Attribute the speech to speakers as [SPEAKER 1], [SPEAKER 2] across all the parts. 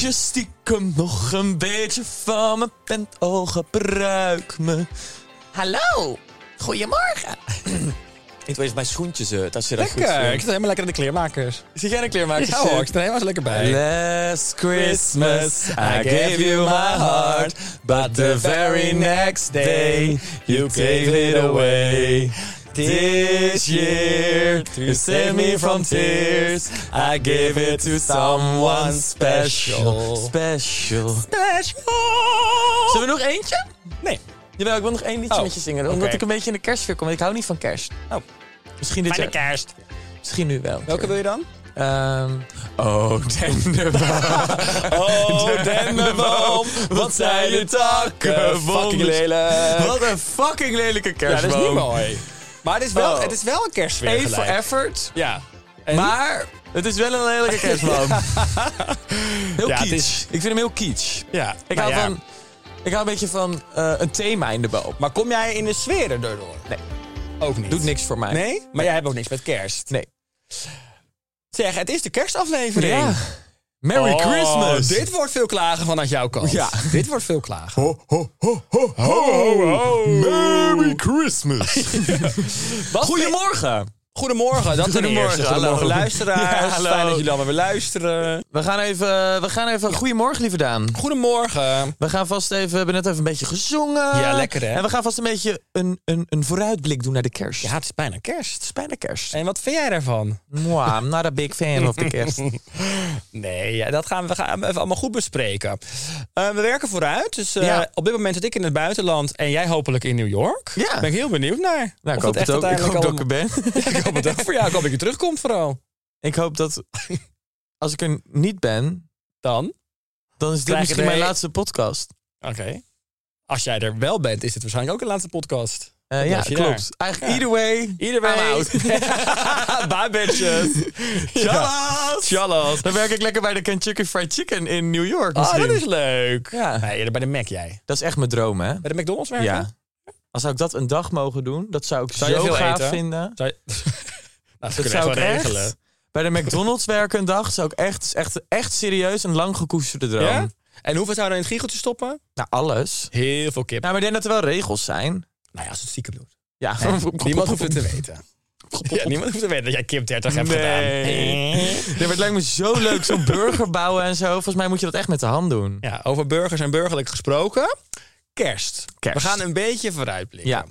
[SPEAKER 1] Je stiekem nog een beetje van me bent, oh gebruik me.
[SPEAKER 2] Hallo, goedemorgen.
[SPEAKER 1] Ik weet mijn schoentjes, eh, dat ze dat goed
[SPEAKER 3] Lekker. Ik
[SPEAKER 1] zijn.
[SPEAKER 3] zit helemaal lekker in de kleermakers.
[SPEAKER 1] Zit jij een kleermaker?
[SPEAKER 3] Ja hoor, ik sta er helemaal zo lekker bij.
[SPEAKER 1] Last Christmas, I gave you my heart, but the very next day, you gave it away. This year, to save me from tears, I gave it to someone special. Special.
[SPEAKER 3] Special.
[SPEAKER 1] Zullen we nog eentje?
[SPEAKER 3] Nee.
[SPEAKER 1] Jawel, ik wil nog één liedje
[SPEAKER 3] Oh,
[SPEAKER 1] met je zingen. Omdat
[SPEAKER 3] oké.
[SPEAKER 1] ik een beetje in de kerstsfeer kom. want Ik hou niet van kerst.
[SPEAKER 3] Oh.
[SPEAKER 1] Misschien dit jaar.
[SPEAKER 3] kerst.
[SPEAKER 1] Misschien nu wel.
[SPEAKER 3] Welke wil je dan?
[SPEAKER 1] Ehm, oh, dennenboom. oh, dennenboom. Wat zijn je takken
[SPEAKER 3] Fucking
[SPEAKER 1] wonders.
[SPEAKER 3] lelijk.
[SPEAKER 1] Wat een fucking lelijke
[SPEAKER 3] Ja,
[SPEAKER 1] kerstboom.
[SPEAKER 3] dat is niet mooi. Maar het is wel,
[SPEAKER 1] Oh.
[SPEAKER 3] het is wel een kerstsfeer
[SPEAKER 1] Eén voor
[SPEAKER 3] gelijk.
[SPEAKER 1] effort.
[SPEAKER 3] Ja. En-
[SPEAKER 1] Maar het is wel een lelijke kerstboom. Heel
[SPEAKER 3] Ja, het
[SPEAKER 1] kitsch.
[SPEAKER 3] is-
[SPEAKER 1] Ik vind hem heel kitsch.
[SPEAKER 3] Ja.
[SPEAKER 1] Ik,
[SPEAKER 3] Nou
[SPEAKER 1] hou
[SPEAKER 3] ja.
[SPEAKER 1] van, ik hou een beetje van eh, een thema in de boom.
[SPEAKER 3] Maar kom jij in de sfeer erdoor?
[SPEAKER 1] Nee.
[SPEAKER 3] Ook niet.
[SPEAKER 1] Doet niks voor mij.
[SPEAKER 3] Nee? Maar jij hebt ook niks met kerst.
[SPEAKER 1] Nee.
[SPEAKER 3] Zeg, het is de kerstaflevering.
[SPEAKER 1] Ja. Merry
[SPEAKER 3] Oh,
[SPEAKER 1] Christmas.
[SPEAKER 3] Dit wordt veel klagen vanuit jouw kant.
[SPEAKER 1] Ja.
[SPEAKER 3] Dit wordt veel klagen.
[SPEAKER 1] Ho, ho, ho, ho,
[SPEAKER 3] ho, ho.
[SPEAKER 1] Merry Christmas.
[SPEAKER 3] Wat
[SPEAKER 1] Goedemorgen.
[SPEAKER 3] Goedemorgen, dat ten
[SPEAKER 1] Goedemorgen,
[SPEAKER 3] eerste. Goedemorgen,
[SPEAKER 1] hallo.
[SPEAKER 3] luisteraars.
[SPEAKER 1] Ja, hallo.
[SPEAKER 3] Fijn dat jullie allemaal weer luisteren.
[SPEAKER 1] We gaan even, eh, we gaan even goedemorgen, lieve Daan.
[SPEAKER 3] Goedemorgen.
[SPEAKER 1] We gaan vast even, we hebben net even een beetje gezongen.
[SPEAKER 3] Ja, lekker, hè?
[SPEAKER 1] En we gaan vast een beetje een, een, een vooruitblik doen naar de kerst.
[SPEAKER 3] Ja, het is bijna kerst.
[SPEAKER 1] is bijna kerst.
[SPEAKER 3] En wat vind jij daarvan?
[SPEAKER 1] Mwah, I'm not a big fan of de kerst.
[SPEAKER 3] Nee, ja, dat gaan we, we gaan even allemaal goed bespreken. Eh, we werken vooruit. Dus eh,
[SPEAKER 1] Ja.
[SPEAKER 3] op dit moment zit ik in het buitenland en jij hopelijk in New York.
[SPEAKER 1] Ja.
[SPEAKER 3] Ben ik heel benieuwd naar.
[SPEAKER 1] Nou, ik
[SPEAKER 3] Of
[SPEAKER 1] hoop het
[SPEAKER 3] echt
[SPEAKER 1] ook. Ik hoop dat ik er
[SPEAKER 3] uiteindelijk
[SPEAKER 1] ben.
[SPEAKER 3] allemaal- ik hoop het ook voor jou. Ik hoop dat je terugkomt vooral.
[SPEAKER 1] Ik hoop dat als ik er niet ben,
[SPEAKER 3] Dan?
[SPEAKER 1] dan is dit
[SPEAKER 3] Krijg je
[SPEAKER 1] misschien
[SPEAKER 3] er-
[SPEAKER 1] mijn laatste podcast.
[SPEAKER 3] Oké. Als jij er wel bent, is dit waarschijnlijk ook een laatste podcast.
[SPEAKER 1] Eh,
[SPEAKER 3] Dan
[SPEAKER 1] ja,
[SPEAKER 3] blijf je
[SPEAKER 1] klopt.
[SPEAKER 3] daar.
[SPEAKER 1] Eigenlijk
[SPEAKER 3] Ja.
[SPEAKER 1] either way.
[SPEAKER 3] Either way.
[SPEAKER 1] I'm out.
[SPEAKER 3] Bye, bitches.
[SPEAKER 1] Tjallas!
[SPEAKER 3] Tjallas.
[SPEAKER 1] Dan werk ik lekker bij de Kentucky Fried Chicken in New York
[SPEAKER 3] Ah,
[SPEAKER 1] misschien.
[SPEAKER 3] dat is leuk.
[SPEAKER 1] Ja.
[SPEAKER 3] Nee, eerder bij de Mac jij.
[SPEAKER 1] Dat is echt mijn droom, hè?
[SPEAKER 3] Bij de McDonald's werken?
[SPEAKER 1] Ja. Als zou ik dat een dag mogen doen, dat zou ik
[SPEAKER 3] Zou je
[SPEAKER 1] zo
[SPEAKER 3] veel
[SPEAKER 1] gaaf
[SPEAKER 3] eten?
[SPEAKER 1] vinden.
[SPEAKER 3] Zou je... nou,
[SPEAKER 1] Dat
[SPEAKER 3] dat
[SPEAKER 1] zou
[SPEAKER 3] zou
[SPEAKER 1] ik
[SPEAKER 3] wel
[SPEAKER 1] echt.
[SPEAKER 3] regelen.
[SPEAKER 1] Bij de McDonald's werken een dag zou ik echt, echt, echt serieus een lang gekoesterde droom. Eh,
[SPEAKER 3] Ja? En hoeveel zouden we in het giegeltje stoppen?
[SPEAKER 1] Nou, alles.
[SPEAKER 3] Heel veel kip.
[SPEAKER 1] Nou, maar ik denk dat er wel regels zijn.
[SPEAKER 3] Nou ja, als het stiekem doet.
[SPEAKER 1] Ja,
[SPEAKER 3] Niemand hoeft het te weten. Ja, niemand hoeft te weten dat jij kip 30 hebt gedaan.
[SPEAKER 1] Nee. Ja, maar het lijkt me zo leuk, zo'n burger bouwen en zo. Volgens mij moet je dat echt met de hand doen.
[SPEAKER 3] Ja, over burgers en burgerlijk gesproken. Kerst.
[SPEAKER 1] Kerst.
[SPEAKER 3] We gaan een beetje vooruitblikken.
[SPEAKER 1] Ja.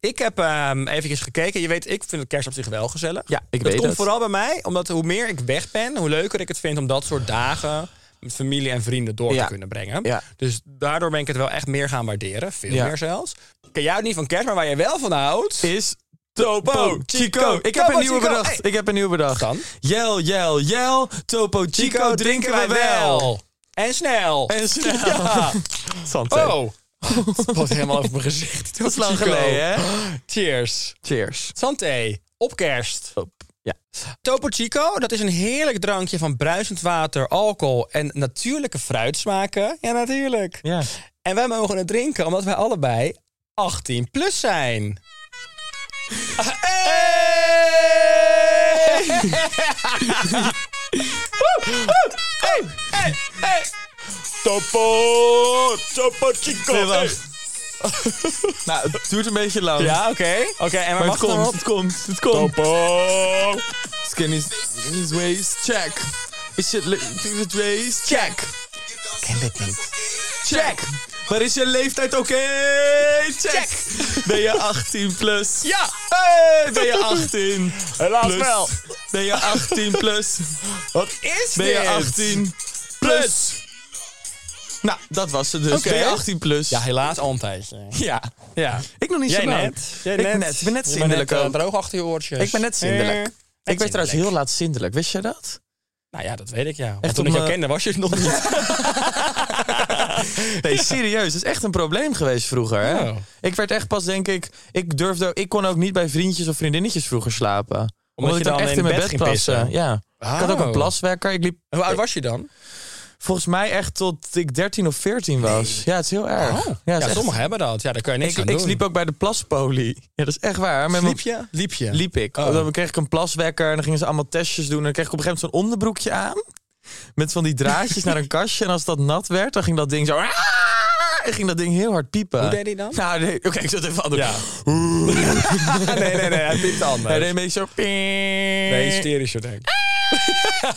[SPEAKER 3] Ik heb ehm eventjes gekeken. Je weet, ik vind kerst op zich wel gezellig.
[SPEAKER 1] Ja, ik
[SPEAKER 3] dat
[SPEAKER 1] weet
[SPEAKER 3] komt
[SPEAKER 1] het.
[SPEAKER 3] vooral bij mij, omdat hoe meer ik weg ben, hoe leuker ik het vind om dat soort dagen met familie en vrienden door
[SPEAKER 1] Ja.
[SPEAKER 3] te kunnen brengen.
[SPEAKER 1] Ja.
[SPEAKER 3] Dus daardoor ben ik het wel echt meer gaan waarderen. Veel
[SPEAKER 1] Ja.
[SPEAKER 3] meer zelfs. Ken jij het niet van kerst, maar waar jij wel van houdt...
[SPEAKER 1] Is Topo Chico. Ik heb
[SPEAKER 3] Topo
[SPEAKER 1] een nieuwe
[SPEAKER 3] Chico.
[SPEAKER 1] bedacht.
[SPEAKER 3] Hey.
[SPEAKER 1] Ik heb een nieuwe bedacht.
[SPEAKER 3] Dan?
[SPEAKER 1] Jel, jel, jel. Topo Chico drinken wij wel.
[SPEAKER 3] En snel.
[SPEAKER 1] En snel.
[SPEAKER 3] Ja.
[SPEAKER 1] Santé.
[SPEAKER 3] Oh. Het was helemaal over mijn gezicht.
[SPEAKER 1] Dat is lang
[SPEAKER 3] Chico.
[SPEAKER 1] geleden, hè?
[SPEAKER 3] Cheers.
[SPEAKER 1] Cheers.
[SPEAKER 3] Santé. Op kerst.
[SPEAKER 1] Ja.
[SPEAKER 3] Topo Chico, dat is een heerlijk drankje van bruisend water, alcohol en natuurlijke fruitsmaken. Ja, natuurlijk.
[SPEAKER 1] Ja.
[SPEAKER 3] En wij mogen het drinken omdat wij allebei 18 plus zijn. Hey! Hey, hey, hey.
[SPEAKER 1] Topo, topo chico.
[SPEAKER 3] Nee, wacht.
[SPEAKER 1] nou, het duurt een beetje lang.
[SPEAKER 3] Ja, oké. Oké, en we
[SPEAKER 1] maar het
[SPEAKER 3] wachten
[SPEAKER 1] komt,
[SPEAKER 3] erop.
[SPEAKER 1] het komt, het komt. Topo. Skin is, is waist, check. Is je le- is waist, check.
[SPEAKER 3] Ken dit niet.
[SPEAKER 1] Check. Maar is je leeftijd oké? Check. Ben je 18 plus?
[SPEAKER 3] Ja.
[SPEAKER 1] Hey, ben je 18?
[SPEAKER 3] Helaas
[SPEAKER 1] plus?
[SPEAKER 3] wel.
[SPEAKER 1] Ben je 18 plus?
[SPEAKER 3] Wat is
[SPEAKER 1] Ben
[SPEAKER 3] dit?
[SPEAKER 1] je 18 plus? Nou, dat was het dus.
[SPEAKER 3] Oké.
[SPEAKER 1] Ben je 18 plus?
[SPEAKER 3] Ja, helaas al een tijdje.
[SPEAKER 1] Ja.
[SPEAKER 3] Ja.
[SPEAKER 1] Ik nog niet
[SPEAKER 3] Jij
[SPEAKER 1] zo lang.
[SPEAKER 3] net. Jij
[SPEAKER 1] ik
[SPEAKER 3] net.
[SPEAKER 1] net. Ik ben net
[SPEAKER 3] Je
[SPEAKER 1] zindelijk
[SPEAKER 3] bent net,
[SPEAKER 1] ook.
[SPEAKER 3] eh, droog achter je oortjes.
[SPEAKER 1] Ik ben net zindelijk.
[SPEAKER 3] Eh,
[SPEAKER 1] ik
[SPEAKER 3] net
[SPEAKER 1] werd
[SPEAKER 3] zindelijk.
[SPEAKER 1] trouwens heel laat zindelijk. Wist jij dat?
[SPEAKER 3] Nou ja, dat weet ik ja. Echt toen
[SPEAKER 1] om,
[SPEAKER 3] ik jou
[SPEAKER 1] eh,
[SPEAKER 3] kende was je het nog niet.
[SPEAKER 1] Nee, serieus. Dat is echt een probleem geweest vroeger. Hè?
[SPEAKER 3] Oh.
[SPEAKER 1] Ik werd echt pas, denk ik... Ik, durfde, ik kon ook niet bij vriendjes of vriendinnetjes vroeger slapen. Omdat,
[SPEAKER 3] je
[SPEAKER 1] ik
[SPEAKER 3] dan
[SPEAKER 1] echt
[SPEAKER 3] in
[SPEAKER 1] in mijn
[SPEAKER 3] bed
[SPEAKER 1] bed,
[SPEAKER 3] ging
[SPEAKER 1] paste.
[SPEAKER 3] pissen?
[SPEAKER 1] Ja. Ik had ook een
[SPEAKER 3] Oh.
[SPEAKER 1] plaswekker. Ik liep
[SPEAKER 3] Hoe oud was je dan?
[SPEAKER 1] volgens mij echt tot ik 13 of 14 was. Ja, het is heel erg.
[SPEAKER 3] Oh.
[SPEAKER 1] Ja,
[SPEAKER 3] Ja,
[SPEAKER 1] het is echt-
[SPEAKER 3] sommigen hebben dat. Ja, daar kan je niks
[SPEAKER 1] Ik,
[SPEAKER 3] aan
[SPEAKER 1] ik
[SPEAKER 3] doen.
[SPEAKER 1] sliep ook bij de plaspolie. Ja, dat is echt waar. Met mijn-
[SPEAKER 3] Sliep je? Liep je?
[SPEAKER 1] liep ik.
[SPEAKER 3] Oh.
[SPEAKER 1] Dan kreeg ik een plaswekker en dan gingen ze allemaal testjes doen. En dan kreeg ik op een gegeven moment zo'n onderbroekje aan. Met van die draadjes naar een kastje. En als dat nat werd, dan ging dat ding zo... "Ah!" En ging dat ding heel hard piepen.
[SPEAKER 3] Hoe deed hij dan?
[SPEAKER 1] Nou, nee, oké, ik zat even anders.
[SPEAKER 3] Ja. nee, nee, nee. Hij piept anders.
[SPEAKER 1] Hij deed een beetje zo...
[SPEAKER 3] Nee,
[SPEAKER 1] Nee,
[SPEAKER 3] hysterischer denk ik.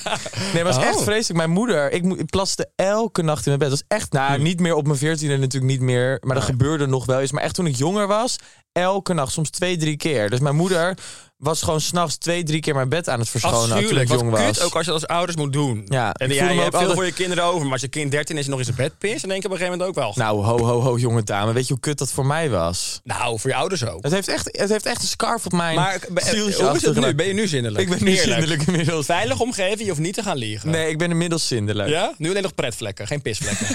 [SPEAKER 1] maar het was echt
[SPEAKER 3] Oh.
[SPEAKER 1] vreselijk. Mijn moeder, ik, mo- ik plaste elke nacht in mijn bed. Dat was echt, nou, niet meer op mijn veertiende natuurlijk niet meer. Maar dat gebeurde nog wel eens. Maar echt toen ik jonger was, elke nacht, soms twee, drie keer. Dus mijn moeder was gewoon s'nachts twee, drie keer mijn bed aan het verschonen nou, toen ik
[SPEAKER 3] Afschuwelijk. Wat
[SPEAKER 1] jong was.
[SPEAKER 3] kut ook als je dat als ouders moet doen.
[SPEAKER 1] Ja, ik
[SPEAKER 3] en
[SPEAKER 1] voel
[SPEAKER 3] ja,
[SPEAKER 1] me
[SPEAKER 3] je
[SPEAKER 1] ook
[SPEAKER 3] hebt veel
[SPEAKER 1] altijd-
[SPEAKER 3] voor je kinderen over. Maar als je kind 13 is en nog in zijn bed pist, dan denk ik op een gegeven moment ook wel.
[SPEAKER 1] Nou, ho, ho, ho, jonge dame. Weet je hoe kut dat voor mij was?
[SPEAKER 3] Nou, voor je ouders ook.
[SPEAKER 1] Het heeft echt, het heeft echt een scarf op mijn
[SPEAKER 3] Maar eh,
[SPEAKER 1] zieltje
[SPEAKER 3] hoe is het nu?
[SPEAKER 1] achtergelaten.
[SPEAKER 3] Ben je nu zindelijk?
[SPEAKER 1] Ik ben nu
[SPEAKER 3] Eerlijk.
[SPEAKER 1] zindelijk inmiddels.
[SPEAKER 3] Veilig omgeving, je hoeft niet te gaan liegen.
[SPEAKER 1] Nee, ik ben inmiddels zindelijk.
[SPEAKER 3] Ja? Nu alleen nog pretvlekken, geen pisvlekken.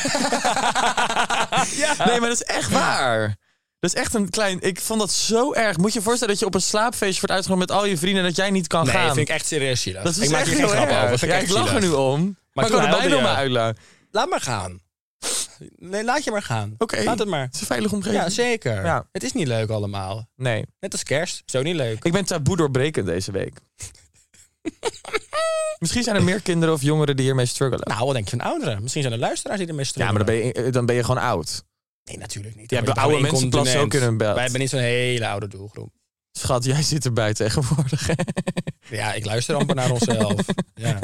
[SPEAKER 3] ja.
[SPEAKER 1] Nee, maar dat is echt waar. Dat is echt een klein... Ik vond dat zo erg. Moet je je voorstellen dat je op een slaapfeestje wordt uitgenodigd met al je vrienden... en dat jij niet kan
[SPEAKER 3] Nee,
[SPEAKER 1] gaan?
[SPEAKER 3] vind ik echt serieus zielig.
[SPEAKER 1] Dat is
[SPEAKER 3] ik maak
[SPEAKER 1] echt
[SPEAKER 3] hier geen
[SPEAKER 1] heel
[SPEAKER 3] grap
[SPEAKER 1] erg.
[SPEAKER 3] over. Vind
[SPEAKER 1] Ja,
[SPEAKER 3] echt
[SPEAKER 1] ik lach er
[SPEAKER 3] zielig.
[SPEAKER 1] nu om. Maar ik
[SPEAKER 3] toen
[SPEAKER 1] kan er bijna
[SPEAKER 3] huilde
[SPEAKER 1] om
[SPEAKER 3] je.
[SPEAKER 1] uitlachen.
[SPEAKER 3] Laat maar gaan. Nee, laat je maar gaan.
[SPEAKER 1] Oké.
[SPEAKER 3] Laat het maar.
[SPEAKER 1] Het is een veilige omgeving.
[SPEAKER 3] Ja, zeker.
[SPEAKER 1] Ja.
[SPEAKER 3] Het is niet leuk allemaal.
[SPEAKER 1] Nee.
[SPEAKER 3] Net als kerst. Zo niet leuk.
[SPEAKER 1] Ik ben taboe doorbrekend deze week. Misschien zijn er meer kinderen of jongeren die hiermee struggelen.
[SPEAKER 3] Nou, wat denk je van ouderen? Misschien zijn er luisteraars die ermee
[SPEAKER 1] ja,
[SPEAKER 3] struggelen.
[SPEAKER 1] maar dan ben je, dan ben je gewoon oud.
[SPEAKER 3] Nee, natuurlijk niet.
[SPEAKER 1] Ja,
[SPEAKER 3] Dan
[SPEAKER 1] de
[SPEAKER 3] ben je
[SPEAKER 1] oude
[SPEAKER 3] gewoon
[SPEAKER 1] mensen plassen
[SPEAKER 3] incontinent.
[SPEAKER 1] ook in hun bed.
[SPEAKER 3] Wij hebben niet zo'n hele oude doelgroep.
[SPEAKER 1] Schat, jij zit erbij tegenwoordig. hè?
[SPEAKER 3] Ja, ik luister amper naar onszelf. Ja.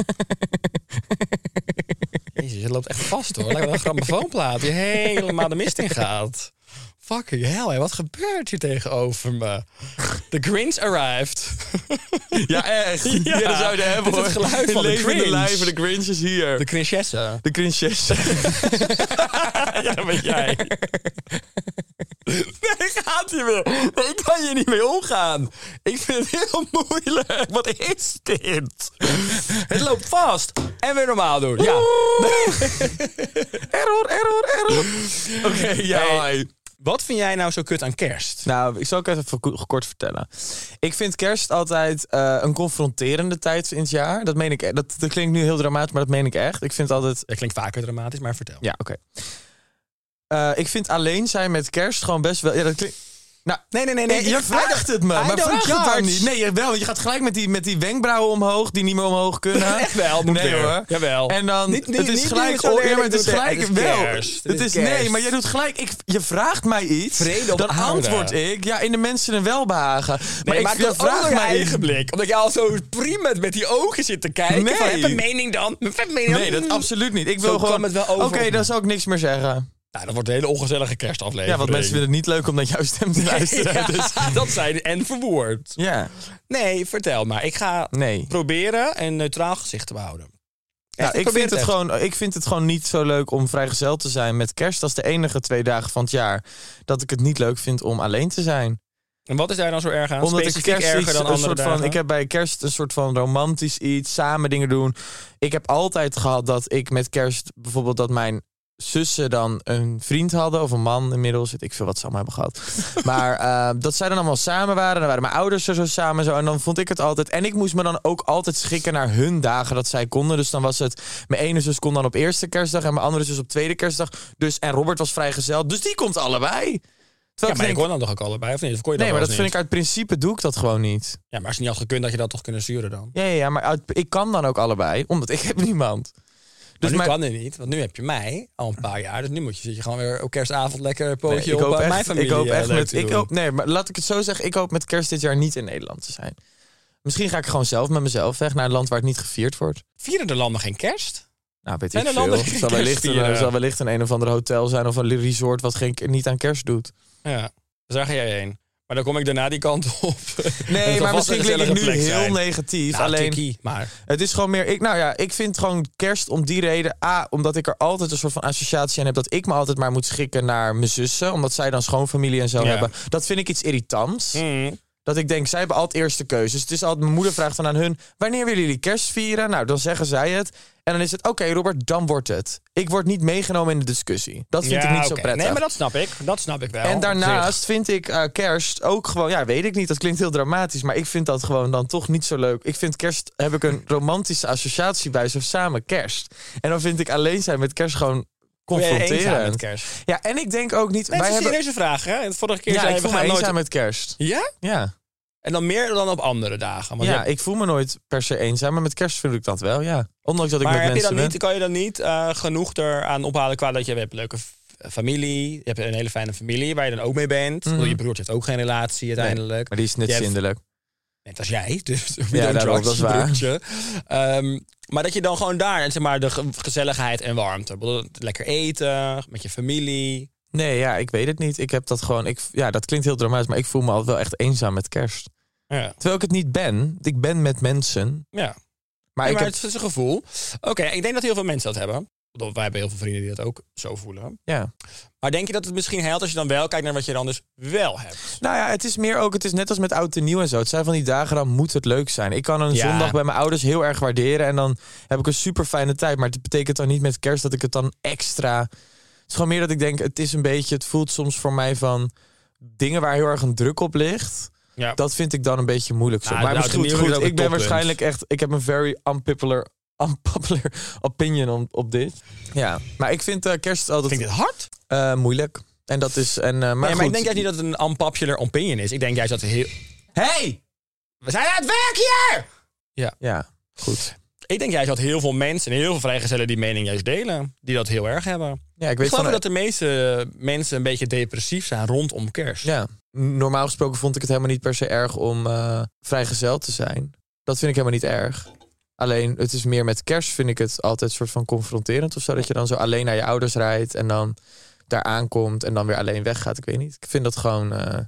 [SPEAKER 3] Jezus, je loopt echt vast hoor. Lijkt wel een grammofoonplaat die helemaal de mist in gaat. Fucking hell, hè. wat gebeurt hier tegenover me? The Grinch arrived.
[SPEAKER 1] Ja, echt. Ja, dat zou je hebben
[SPEAKER 3] Dit is
[SPEAKER 1] hoor.
[SPEAKER 3] het geluid van de
[SPEAKER 1] levende
[SPEAKER 3] Grinch.
[SPEAKER 1] lijven, de Grinch is hier.
[SPEAKER 3] De
[SPEAKER 1] De,
[SPEAKER 3] Grinchesse.
[SPEAKER 1] Grinches.
[SPEAKER 3] Ja, dat ben jij.
[SPEAKER 1] Nee, gaat hier weer. Nee, ik kan hier niet mee omgaan. Ik vind het heel moeilijk. Wat is dit?
[SPEAKER 3] Het loopt vast. En weer normaal doen.
[SPEAKER 1] Ja.
[SPEAKER 3] Ja.
[SPEAKER 1] error, error, error. Oké, ja.
[SPEAKER 3] Hey.
[SPEAKER 1] hoi.
[SPEAKER 3] Wat vind jij nou zo kut aan kerst?
[SPEAKER 1] Nou, ik zal ook even ko- kort vertellen. Ik vind kerst altijd eh, een confronterende tijd in het jaar. Dat meen ik. e- Dat, dat klinkt nu heel dramatisch, maar dat meen ik echt. Ik vind altijd
[SPEAKER 3] Dat klinkt vaker dramatisch, maar vertel.
[SPEAKER 1] Ja, oké. Eh, ik vind alleen zijn met kerst gewoon best wel. Ja, dat klinkt. Nou,
[SPEAKER 3] Nee, nee, nee.
[SPEAKER 1] nee,
[SPEAKER 3] nee.
[SPEAKER 1] je
[SPEAKER 3] ik-
[SPEAKER 1] vraagt het me, maar
[SPEAKER 3] I don't
[SPEAKER 1] vraag het
[SPEAKER 3] judge.
[SPEAKER 1] dan niet. Nee, jawel, want je gaat gelijk met die, met die wenkbrauwen omhoog, die niet meer omhoog kunnen.
[SPEAKER 3] Echt wel, moet
[SPEAKER 1] nee,
[SPEAKER 3] weer.
[SPEAKER 1] hoor.
[SPEAKER 3] Jawel.
[SPEAKER 1] En dan,
[SPEAKER 3] Niet- niet-
[SPEAKER 1] het is
[SPEAKER 3] niet
[SPEAKER 1] gelijk,
[SPEAKER 3] doen we zo
[SPEAKER 1] oh, ja, maar
[SPEAKER 3] eerlijk
[SPEAKER 1] het is
[SPEAKER 3] doen,
[SPEAKER 1] gelijk
[SPEAKER 3] het is
[SPEAKER 1] wel.
[SPEAKER 3] kerst, het
[SPEAKER 1] het
[SPEAKER 3] is
[SPEAKER 1] is,
[SPEAKER 3] kerst.
[SPEAKER 1] nee, maar jij doet gelijk, ik, je vraagt mij iets,
[SPEAKER 3] Vrede op
[SPEAKER 1] dan
[SPEAKER 3] aarde.
[SPEAKER 1] antwoord ik, ja, in de mensen een welbehagen.
[SPEAKER 3] Nee, maar
[SPEAKER 1] ik je
[SPEAKER 3] ik vraag
[SPEAKER 1] vraagt
[SPEAKER 3] je
[SPEAKER 1] mij iets.
[SPEAKER 3] eigen blik. Omdat je al zo prima met die ogen zit te kijken.
[SPEAKER 1] Nee.
[SPEAKER 3] Van, heb een mening dan? Heb een mening dan?
[SPEAKER 1] Nee, dat absoluut niet. Ik wil
[SPEAKER 3] Zo
[SPEAKER 1] gewoon.
[SPEAKER 3] kwam het wel over
[SPEAKER 1] Oké,
[SPEAKER 3] op me.
[SPEAKER 1] dan zal ik niks meer zeggen.
[SPEAKER 3] Nou, dat wordt een hele ongezellige kerstaflevering.
[SPEAKER 1] Ja, want mensen vinden het niet leuk om naar jouw stem te luisteren.
[SPEAKER 3] Ja,
[SPEAKER 1] Dus,
[SPEAKER 3] dat zijn en verwoord.
[SPEAKER 1] ja.
[SPEAKER 3] Nee, vertel maar. Ik ga
[SPEAKER 1] Nee.
[SPEAKER 3] proberen een neutraal gezicht te behouden.
[SPEAKER 1] Ja,
[SPEAKER 3] Echt,
[SPEAKER 1] Nou, ik,
[SPEAKER 3] probeer
[SPEAKER 1] vind het
[SPEAKER 3] echt.
[SPEAKER 1] gewoon, ik vind het gewoon niet zo leuk om vrijgezel te zijn met kerst. Dat is de enige twee dagen van het jaar dat ik het niet leuk vind om alleen te zijn.
[SPEAKER 3] En wat is daar dan zo erg aan?
[SPEAKER 1] Omdat ik
[SPEAKER 3] Specifiek
[SPEAKER 1] kerst
[SPEAKER 3] erger
[SPEAKER 1] iets-
[SPEAKER 3] dan
[SPEAKER 1] een
[SPEAKER 3] andere
[SPEAKER 1] soort van,
[SPEAKER 3] dagen?
[SPEAKER 1] ik heb bij kerst een soort van romantisch iets, samen dingen doen. Ik heb altijd gehad dat ik met kerst bijvoorbeeld dat mijn zussen dan een vriend hadden of een man inmiddels, weet ik veel wat ze allemaal hebben gehad. maar eh, dat zij dan allemaal samen waren, dan waren mijn ouders er zo samen en zo en dan vond ik het altijd en ik moest me dan ook altijd schikken naar hun dagen dat zij konden. Dus dan was het mijn ene zus kon dan op eerste kerstdag en mijn andere zus op tweede kerstdag. Dus en Robert was vrijgezel, dus die komt allebei.
[SPEAKER 3] Ja,
[SPEAKER 1] Terwijl
[SPEAKER 3] maar je
[SPEAKER 1] ik
[SPEAKER 3] kon
[SPEAKER 1] denk,
[SPEAKER 3] dan toch ook allebei, of niet? Of kon je dat
[SPEAKER 1] nee, maar dat
[SPEAKER 3] wel eens
[SPEAKER 1] vind ik
[SPEAKER 3] niet?
[SPEAKER 1] uit principe doe ik dat gewoon niet.
[SPEAKER 3] Ja, maar als het niet had gekund, had je dat toch kunnen sturen dan?
[SPEAKER 1] Ja, ja, ja, maar uit, ik kan dan ook allebei, omdat ik heb niemand.
[SPEAKER 3] Dus
[SPEAKER 1] Dus
[SPEAKER 3] nu
[SPEAKER 1] mijn-
[SPEAKER 3] kan het niet, want nu heb je mij al een paar jaar. Dus nu moet je, zit je gewoon weer op kerstavond lekker een
[SPEAKER 1] Nee,
[SPEAKER 3] pootje op eh, mijn familie.
[SPEAKER 1] ik hoop
[SPEAKER 3] eh,
[SPEAKER 1] echt
[SPEAKER 3] leuk
[SPEAKER 1] met,
[SPEAKER 3] te
[SPEAKER 1] ik
[SPEAKER 3] doen.
[SPEAKER 1] hoop, nee, maar laat ik het zo zeggen. Ik hoop met kerst dit jaar niet in Nederland te zijn. Misschien ga ik gewoon zelf met mezelf weg naar een land waar het niet gevierd wordt.
[SPEAKER 3] Vieren de landen geen kerst?
[SPEAKER 1] Nou, weet
[SPEAKER 3] Zijn
[SPEAKER 1] ik
[SPEAKER 3] er landen
[SPEAKER 1] veel.
[SPEAKER 3] die
[SPEAKER 1] Het zal,
[SPEAKER 3] kerst
[SPEAKER 1] wellicht een,
[SPEAKER 3] vieren?
[SPEAKER 1] het zal wellicht een een of ander hotel zijn of een resort wat geen, niet aan kerst doet.
[SPEAKER 3] Ja, dus daar ga jij heen. Maar dan kom ik daarna die kant op.
[SPEAKER 1] Nee, maar misschien klink ik nu heel negatief.
[SPEAKER 3] alleen...
[SPEAKER 1] alleen,
[SPEAKER 3] Nou, maar
[SPEAKER 1] het is gewoon meer... Ik, nou ja, ik vind gewoon kerst om die reden... A, omdat ik er altijd een soort van associatie aan heb... dat ik me altijd maar moet schikken naar mijn zussen... omdat zij dan schoonfamilie en zo
[SPEAKER 3] Ja.
[SPEAKER 1] hebben. Dat vind ik iets irritants.
[SPEAKER 3] Mm.
[SPEAKER 1] Dat ik denk, zij hebben altijd eerste keuzes. Dus het is altijd, mijn moeder vraagt dan aan hun... wanneer willen jullie kerst vieren? Nou, dan zeggen zij het. En dan is het, oké Robert, dan wordt het. Ik word niet meegenomen in de discussie. Dat vind
[SPEAKER 3] Ja,
[SPEAKER 1] ik niet
[SPEAKER 3] oké.
[SPEAKER 1] zo prettig.
[SPEAKER 3] Nee, maar dat snap ik. Dat snap ik wel.
[SPEAKER 1] en
[SPEAKER 3] Op
[SPEAKER 1] daarnaast
[SPEAKER 3] zich.
[SPEAKER 1] vind ik eh, kerst ook gewoon... ja, weet ik niet, dat klinkt heel dramatisch... maar ik vind dat gewoon dan toch niet zo leuk. Ik vind kerst, heb ik een romantische associatie bij... zo samen kerst. En dan vind ik alleen zijn met kerst gewoon
[SPEAKER 3] Ben je eenzaam
[SPEAKER 1] confronterend.
[SPEAKER 3] met kerst.
[SPEAKER 1] Ja, en ik denk ook niet...
[SPEAKER 3] Nee,
[SPEAKER 1] wij
[SPEAKER 3] het is een
[SPEAKER 1] hebben,
[SPEAKER 3] serieuze vraag, hè? De vorige keer
[SPEAKER 1] ja,
[SPEAKER 3] zei
[SPEAKER 1] ik
[SPEAKER 3] je,
[SPEAKER 1] voel
[SPEAKER 3] we
[SPEAKER 1] me
[SPEAKER 3] gaan
[SPEAKER 1] eenzaam
[SPEAKER 3] nooit...
[SPEAKER 1] met kerst.
[SPEAKER 3] Ja?
[SPEAKER 1] Ja.
[SPEAKER 3] En dan meer dan op andere dagen. Want
[SPEAKER 1] ja,
[SPEAKER 3] je hebt-
[SPEAKER 1] ik voel me nooit per se eenzaam, maar met kerst voel ik dat wel, ja. Ondanks dat ik
[SPEAKER 3] Maar
[SPEAKER 1] met
[SPEAKER 3] heb je
[SPEAKER 1] mensen
[SPEAKER 3] dan
[SPEAKER 1] ben.
[SPEAKER 3] niet, kan je dan niet eh, genoeg eraan ophalen qua dat je, je hebt een leuke f- familie, je hebt een hele fijne familie waar je dan ook mee bent. Ik bedoel, Je broertje heeft ook geen relatie
[SPEAKER 1] Mhm.
[SPEAKER 3] uiteindelijk.
[SPEAKER 1] Maar die is net
[SPEAKER 3] Je hebt-
[SPEAKER 1] zindelijk.
[SPEAKER 3] Net als jij, dus we
[SPEAKER 1] Ja,
[SPEAKER 3] don't
[SPEAKER 1] daarom,
[SPEAKER 3] judge,
[SPEAKER 1] dat is waar.
[SPEAKER 3] broertje. Ehm, maar dat je dan gewoon daar, en zeg maar, de ge- gezelligheid en warmte. Ik bedoel, Lekker eten, met je familie.
[SPEAKER 1] Nee, ja, ik weet het niet. Ik heb dat gewoon... Ik, ja, dat klinkt heel dramatisch, maar ik voel me al wel echt eenzaam met kerst.
[SPEAKER 3] Ja.
[SPEAKER 1] Terwijl ik het niet ben. Ik ben met mensen.
[SPEAKER 3] ja. Maar,
[SPEAKER 1] Maar ik
[SPEAKER 3] maar
[SPEAKER 1] heb...
[SPEAKER 3] het is een gevoel. Oké, ik denk dat heel veel mensen dat hebben. Ik bedoel, Wij hebben heel veel vrienden die dat ook zo voelen.
[SPEAKER 1] Ja.
[SPEAKER 3] Maar denk je dat het misschien helpt als je dan wel kijkt naar wat je dan dus wel hebt?
[SPEAKER 1] Nou ja, het is meer ook... Het is net als met oud en nieuw en zo. Het zijn van die dagen, dan moet het leuk zijn. Ik kan een
[SPEAKER 3] Ja.
[SPEAKER 1] zondag bij mijn ouders heel erg waarderen... en dan heb ik een super fijne tijd. Maar het betekent dan niet met kerst dat ik het dan extra... Het is gewoon meer dat ik denk, het is een beetje... Het voelt soms voor mij van... Dingen waar heel erg een druk op ligt...
[SPEAKER 3] Ja.
[SPEAKER 1] Dat vind ik dan een beetje moeilijk. Zo.
[SPEAKER 3] Ja,
[SPEAKER 1] maar
[SPEAKER 3] nou,
[SPEAKER 1] misschien
[SPEAKER 3] de
[SPEAKER 1] goed,
[SPEAKER 3] nieuwe is
[SPEAKER 1] goed.
[SPEAKER 3] ook
[SPEAKER 1] Ik ben
[SPEAKER 3] een toppunt.
[SPEAKER 1] waarschijnlijk echt. Ik heb een very unpopular, unpopular opinion om- op dit. Ja, maar ik vind eh, kerst altijd
[SPEAKER 3] Vind ik dit hard?
[SPEAKER 1] eh, moeilijk. En dat is. En, eh, maar
[SPEAKER 3] Maar, nee, maar ik
[SPEAKER 1] goed.
[SPEAKER 3] denk juist niet dat het een unpopular opinion is. Ik denk juist dat het heel...
[SPEAKER 1] Hey!
[SPEAKER 3] We zijn aan het werk hier!
[SPEAKER 1] Ja, goed.
[SPEAKER 3] Ik denk juist dat heel veel mensen en heel veel vrijgezellen die mening juist delen. Die dat heel erg hebben.
[SPEAKER 1] Ja, ik
[SPEAKER 3] Ik
[SPEAKER 1] weet
[SPEAKER 3] geloof
[SPEAKER 1] van.
[SPEAKER 3] dat de meeste mensen een beetje depressief zijn rondom kerst.
[SPEAKER 1] Ja, normaal gesproken vond ik het helemaal niet per se erg om eh, vrijgezel te zijn. Dat vind ik helemaal niet erg. Alleen, het is meer met kerst vind ik het altijd soort van confronterend of zo. Dat je dan zo alleen naar je ouders rijdt en dan daar aankomt en dan weer alleen weggaat. Ik weet niet. Ik vind dat gewoon eh,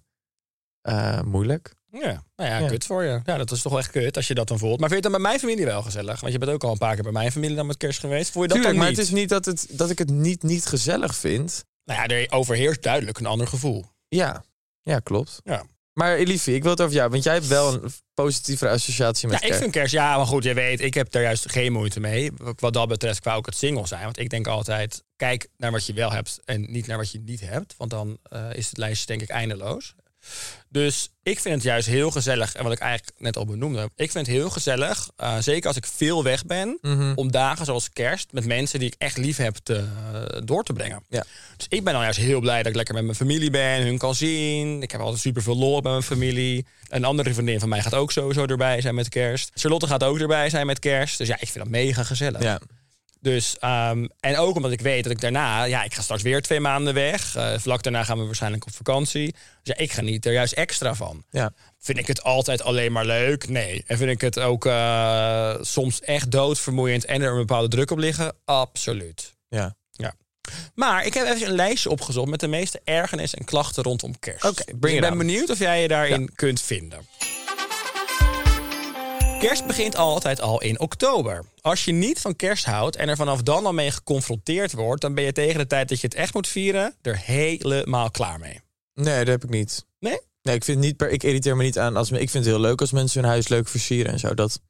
[SPEAKER 1] eh, moeilijk.
[SPEAKER 3] Ja. Nou ja,
[SPEAKER 1] Ja.
[SPEAKER 3] kut voor je. Ja, dat is toch wel echt kut als je dat dan voelt. Maar vind je het dan bij mijn familie wel gezellig? Want je bent ook al een paar keer bij mijn familie dan met kerst geweest. Voel je dat
[SPEAKER 1] Tuurlijk,
[SPEAKER 3] dan
[SPEAKER 1] maar
[SPEAKER 3] niet?
[SPEAKER 1] het is niet dat, het, dat ik het niet, niet gezellig vind.
[SPEAKER 3] Nou ja, er overheerst duidelijk een ander gevoel.
[SPEAKER 1] Ja, ja klopt.
[SPEAKER 3] Ja.
[SPEAKER 1] Maar Elifie, ik wil het over jou, want jij hebt wel een positieve associatie met
[SPEAKER 3] Ja, ik
[SPEAKER 1] kerst.
[SPEAKER 3] vind kerst, ja, maar goed, je weet, ik heb daar juist geen moeite mee. Wat dat betreft qua ook het single zijn. Want ik denk altijd, kijk naar wat je wel hebt en niet naar wat je niet hebt. Want dan eh, is het lijstje denk ik eindeloos. Dus ik vind het juist heel gezellig. En wat ik eigenlijk net al benoemde. Ik vind het heel gezellig, eh, zeker als ik veel weg ben. Om dagen zoals kerst met mensen die ik echt lief heb te, eh, door te brengen.
[SPEAKER 1] Ja.
[SPEAKER 3] Dus ik ben dan juist heel blij dat ik lekker met mijn familie ben. Hun kan zien. Ik heb altijd super veel lol met mijn familie. Een andere vriendin van mij gaat ook sowieso erbij zijn met kerst. Charlotte gaat ook erbij zijn met kerst. Dus ja, ik vind dat mega gezellig.
[SPEAKER 1] Ja.
[SPEAKER 3] Dus, ehm, en ook omdat ik weet dat ik daarna, ja, ik ga straks weer twee maanden weg. Eh, vlak daarna gaan we waarschijnlijk op vakantie. Dus ja, ik geniet er juist extra van.
[SPEAKER 1] Ja.
[SPEAKER 3] Vind ik het altijd alleen maar leuk? Nee. En vind ik het ook eh, soms echt doodvermoeiend en er een bepaalde druk op liggen? Absoluut.
[SPEAKER 1] ja.
[SPEAKER 3] Ja. Maar ik heb even een lijstje opgezocht met de meeste ergernis en klachten rondom kerst.
[SPEAKER 1] Oké, bring
[SPEAKER 3] Dus ik
[SPEAKER 1] it
[SPEAKER 3] ben
[SPEAKER 1] on.
[SPEAKER 3] benieuwd of jij je daarin kunt vinden. Kerst begint altijd al in oktober. Als je niet van kerst houdt en er vanaf dan al mee geconfronteerd wordt, dan ben je tegen de tijd dat je het echt moet vieren er helemaal klaar mee.
[SPEAKER 1] Nee, dat heb ik niet.
[SPEAKER 3] Nee?
[SPEAKER 1] Nee, ik, vind niet per, ik irriteer me niet aan. Als, me- ik vind het heel leuk als mensen hun huis leuk versieren en zo. Dat,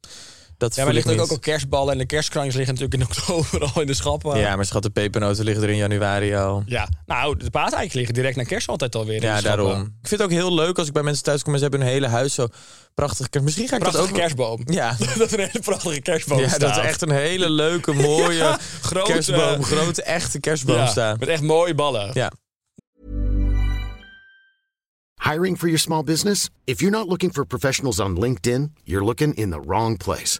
[SPEAKER 1] dat
[SPEAKER 3] Ja, maar
[SPEAKER 1] voel
[SPEAKER 3] er
[SPEAKER 1] ik
[SPEAKER 3] liggen ook
[SPEAKER 1] niet.
[SPEAKER 3] al kerstballen en de kerstkransjes liggen natuurlijk in oktober al in de schappen.
[SPEAKER 1] Ja, maar schat, de pepernoten liggen er in januari al.
[SPEAKER 3] Ja. Nou, de paaseiken liggen direct na kerst altijd alweer in
[SPEAKER 1] Ja,
[SPEAKER 3] de schappen.
[SPEAKER 1] daarom. Ik vind het ook heel leuk als ik bij mensen thuis kom en ze hebben hun hele huis zo prachtig. kerst- Misschien ga ik
[SPEAKER 3] Prachtige
[SPEAKER 1] dat ook...
[SPEAKER 3] kerstboom.
[SPEAKER 1] Ja.
[SPEAKER 3] dat er een hele prachtige kerstboom
[SPEAKER 1] Ja,
[SPEAKER 3] staat.
[SPEAKER 1] dat is echt een hele leuke, mooie
[SPEAKER 3] Ja, grote-
[SPEAKER 1] kerstboom. Grote, echte kerstboom
[SPEAKER 3] Ja,
[SPEAKER 1] staan.
[SPEAKER 3] Met echt mooie ballen.
[SPEAKER 1] Ja.
[SPEAKER 4] Hiring for your small business? If you're not looking for professionals on LinkedIn, you're looking in the wrong place.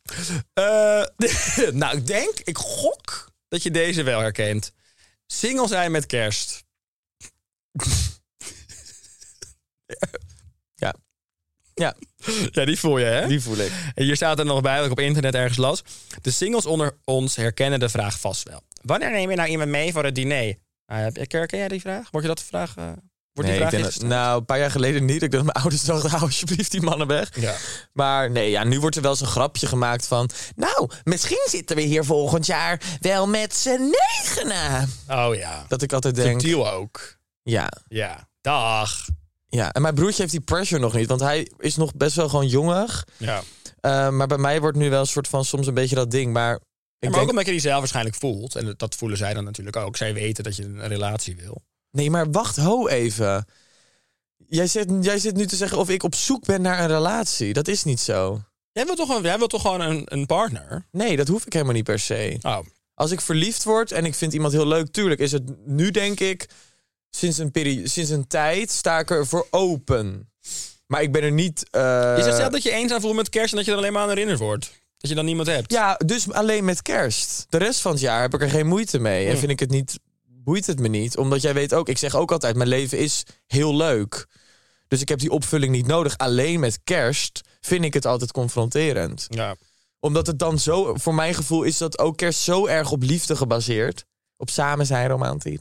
[SPEAKER 3] Eh, nou, ik denk, ik gok dat je deze wel herkent. Single zijn met kerst. ja. Ja. Ja, die voel je, hè?
[SPEAKER 1] Die voel ik.
[SPEAKER 3] En Hier staat er nog bij, wat ik op internet ergens las. De singles onder ons herkennen de vraag vast wel. Wanneer neem je nou iemand mee voor het diner? Ah, heb- herken jij die vraag? Word je dat de vraag... eh, wordt
[SPEAKER 1] Nee,
[SPEAKER 3] die
[SPEAKER 1] ik
[SPEAKER 3] vraag
[SPEAKER 1] denk dat-
[SPEAKER 3] ingesteld?
[SPEAKER 1] nou, een paar jaar geleden niet. Ik dacht, mijn ouders dachten, hou alsjeblieft die mannen weg.
[SPEAKER 3] Ja.
[SPEAKER 1] Maar nee, ja, nu wordt er wel eens een grapje gemaakt van... Nou,
[SPEAKER 5] Misschien zitten we hier volgend jaar wel met z'n negenen.
[SPEAKER 3] Oh ja.
[SPEAKER 1] dat ik altijd denk...
[SPEAKER 3] Subtiel ook.
[SPEAKER 1] Ja,
[SPEAKER 3] Ja. Dag.
[SPEAKER 1] ja. En mijn broertje heeft die pressure nog niet. Want hij is nog best wel gewoon jongig.
[SPEAKER 3] Ja.
[SPEAKER 1] Eh, maar bij mij wordt nu wel een soort van soms een beetje dat ding. Maar ik
[SPEAKER 3] maar
[SPEAKER 1] denk,
[SPEAKER 3] ook omdat je die zelf waarschijnlijk voelt. En dat voelen zij dan natuurlijk ook. Zij weten dat je een relatie wil.
[SPEAKER 1] Nee, maar wacht, ho even. Jij zit, jij zit nu te zeggen of ik op zoek ben naar een relatie. Dat is niet zo.
[SPEAKER 3] Jij wilt toch, gewoon- jij wilt toch gewoon een, een partner?
[SPEAKER 1] Nee, dat hoef ik helemaal niet per se.
[SPEAKER 3] Oh.
[SPEAKER 1] Als ik verliefd word en ik vind iemand heel leuk, tuurlijk is het nu denk ik... Sinds een, peri- sinds een tijd sta ik er voor open. Maar ik ben er niet... eh,
[SPEAKER 3] Is het zelf dat je eenzaam voelt met kerst en dat je er alleen maar aan herinnerd wordt? Dat je dan niemand hebt?
[SPEAKER 1] Ja, dus alleen met kerst. De rest van het jaar heb ik er geen moeite mee.
[SPEAKER 3] Hm.
[SPEAKER 1] En vind ik het niet, boeit het me niet. Omdat jij weet ook, ik zeg ook altijd, mijn leven is heel leuk. Dus ik heb die opvulling niet nodig. Alleen met kerst vind ik het altijd confronterend.
[SPEAKER 3] Ja.
[SPEAKER 1] Omdat het dan zo, voor mijn gevoel is dat ook kerst zo erg op liefde gebaseerd. Op samen zijn, Nou, romantisch.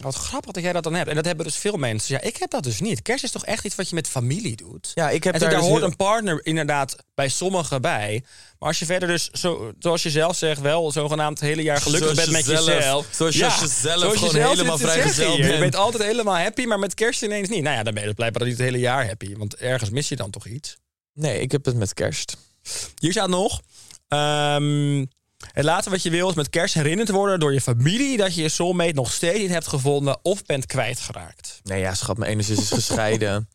[SPEAKER 3] Wat grappig dat jij dat dan hebt. En dat hebben dus veel mensen. Ja, ik heb dat dus niet. Kerst is toch echt iets wat je met familie doet?
[SPEAKER 1] Ja, ik heb
[SPEAKER 3] en daar,
[SPEAKER 1] daar dus
[SPEAKER 3] hoort
[SPEAKER 1] heel-
[SPEAKER 3] een partner inderdaad bij sommigen bij. Maar als je verder dus, zo, zoals je zelf zegt, wel zogenaamd het hele jaar gelukkig
[SPEAKER 1] Zoals
[SPEAKER 3] bent met
[SPEAKER 1] jezelf.
[SPEAKER 3] jezelf.
[SPEAKER 1] Zoals je zelf
[SPEAKER 3] zoals
[SPEAKER 1] gewoon
[SPEAKER 3] zelf
[SPEAKER 1] helemaal
[SPEAKER 3] zit te zeggen
[SPEAKER 1] vrijgezel
[SPEAKER 3] hier. Je
[SPEAKER 1] bent.
[SPEAKER 3] bent altijd helemaal happy, maar met kerst ineens niet. Nou ja, dan ben je dus blijkbaar niet het hele jaar happy. Want ergens mis je dan toch iets.
[SPEAKER 1] Nee, ik heb het met kerst.
[SPEAKER 3] Hier staat nog... ehm, het laatste wat je wil is met kerst herinnerd worden door je familie... dat je je soulmate nog steeds niet hebt gevonden of bent kwijtgeraakt.
[SPEAKER 1] Nee, ja, schat, mijn ene zus is gescheiden.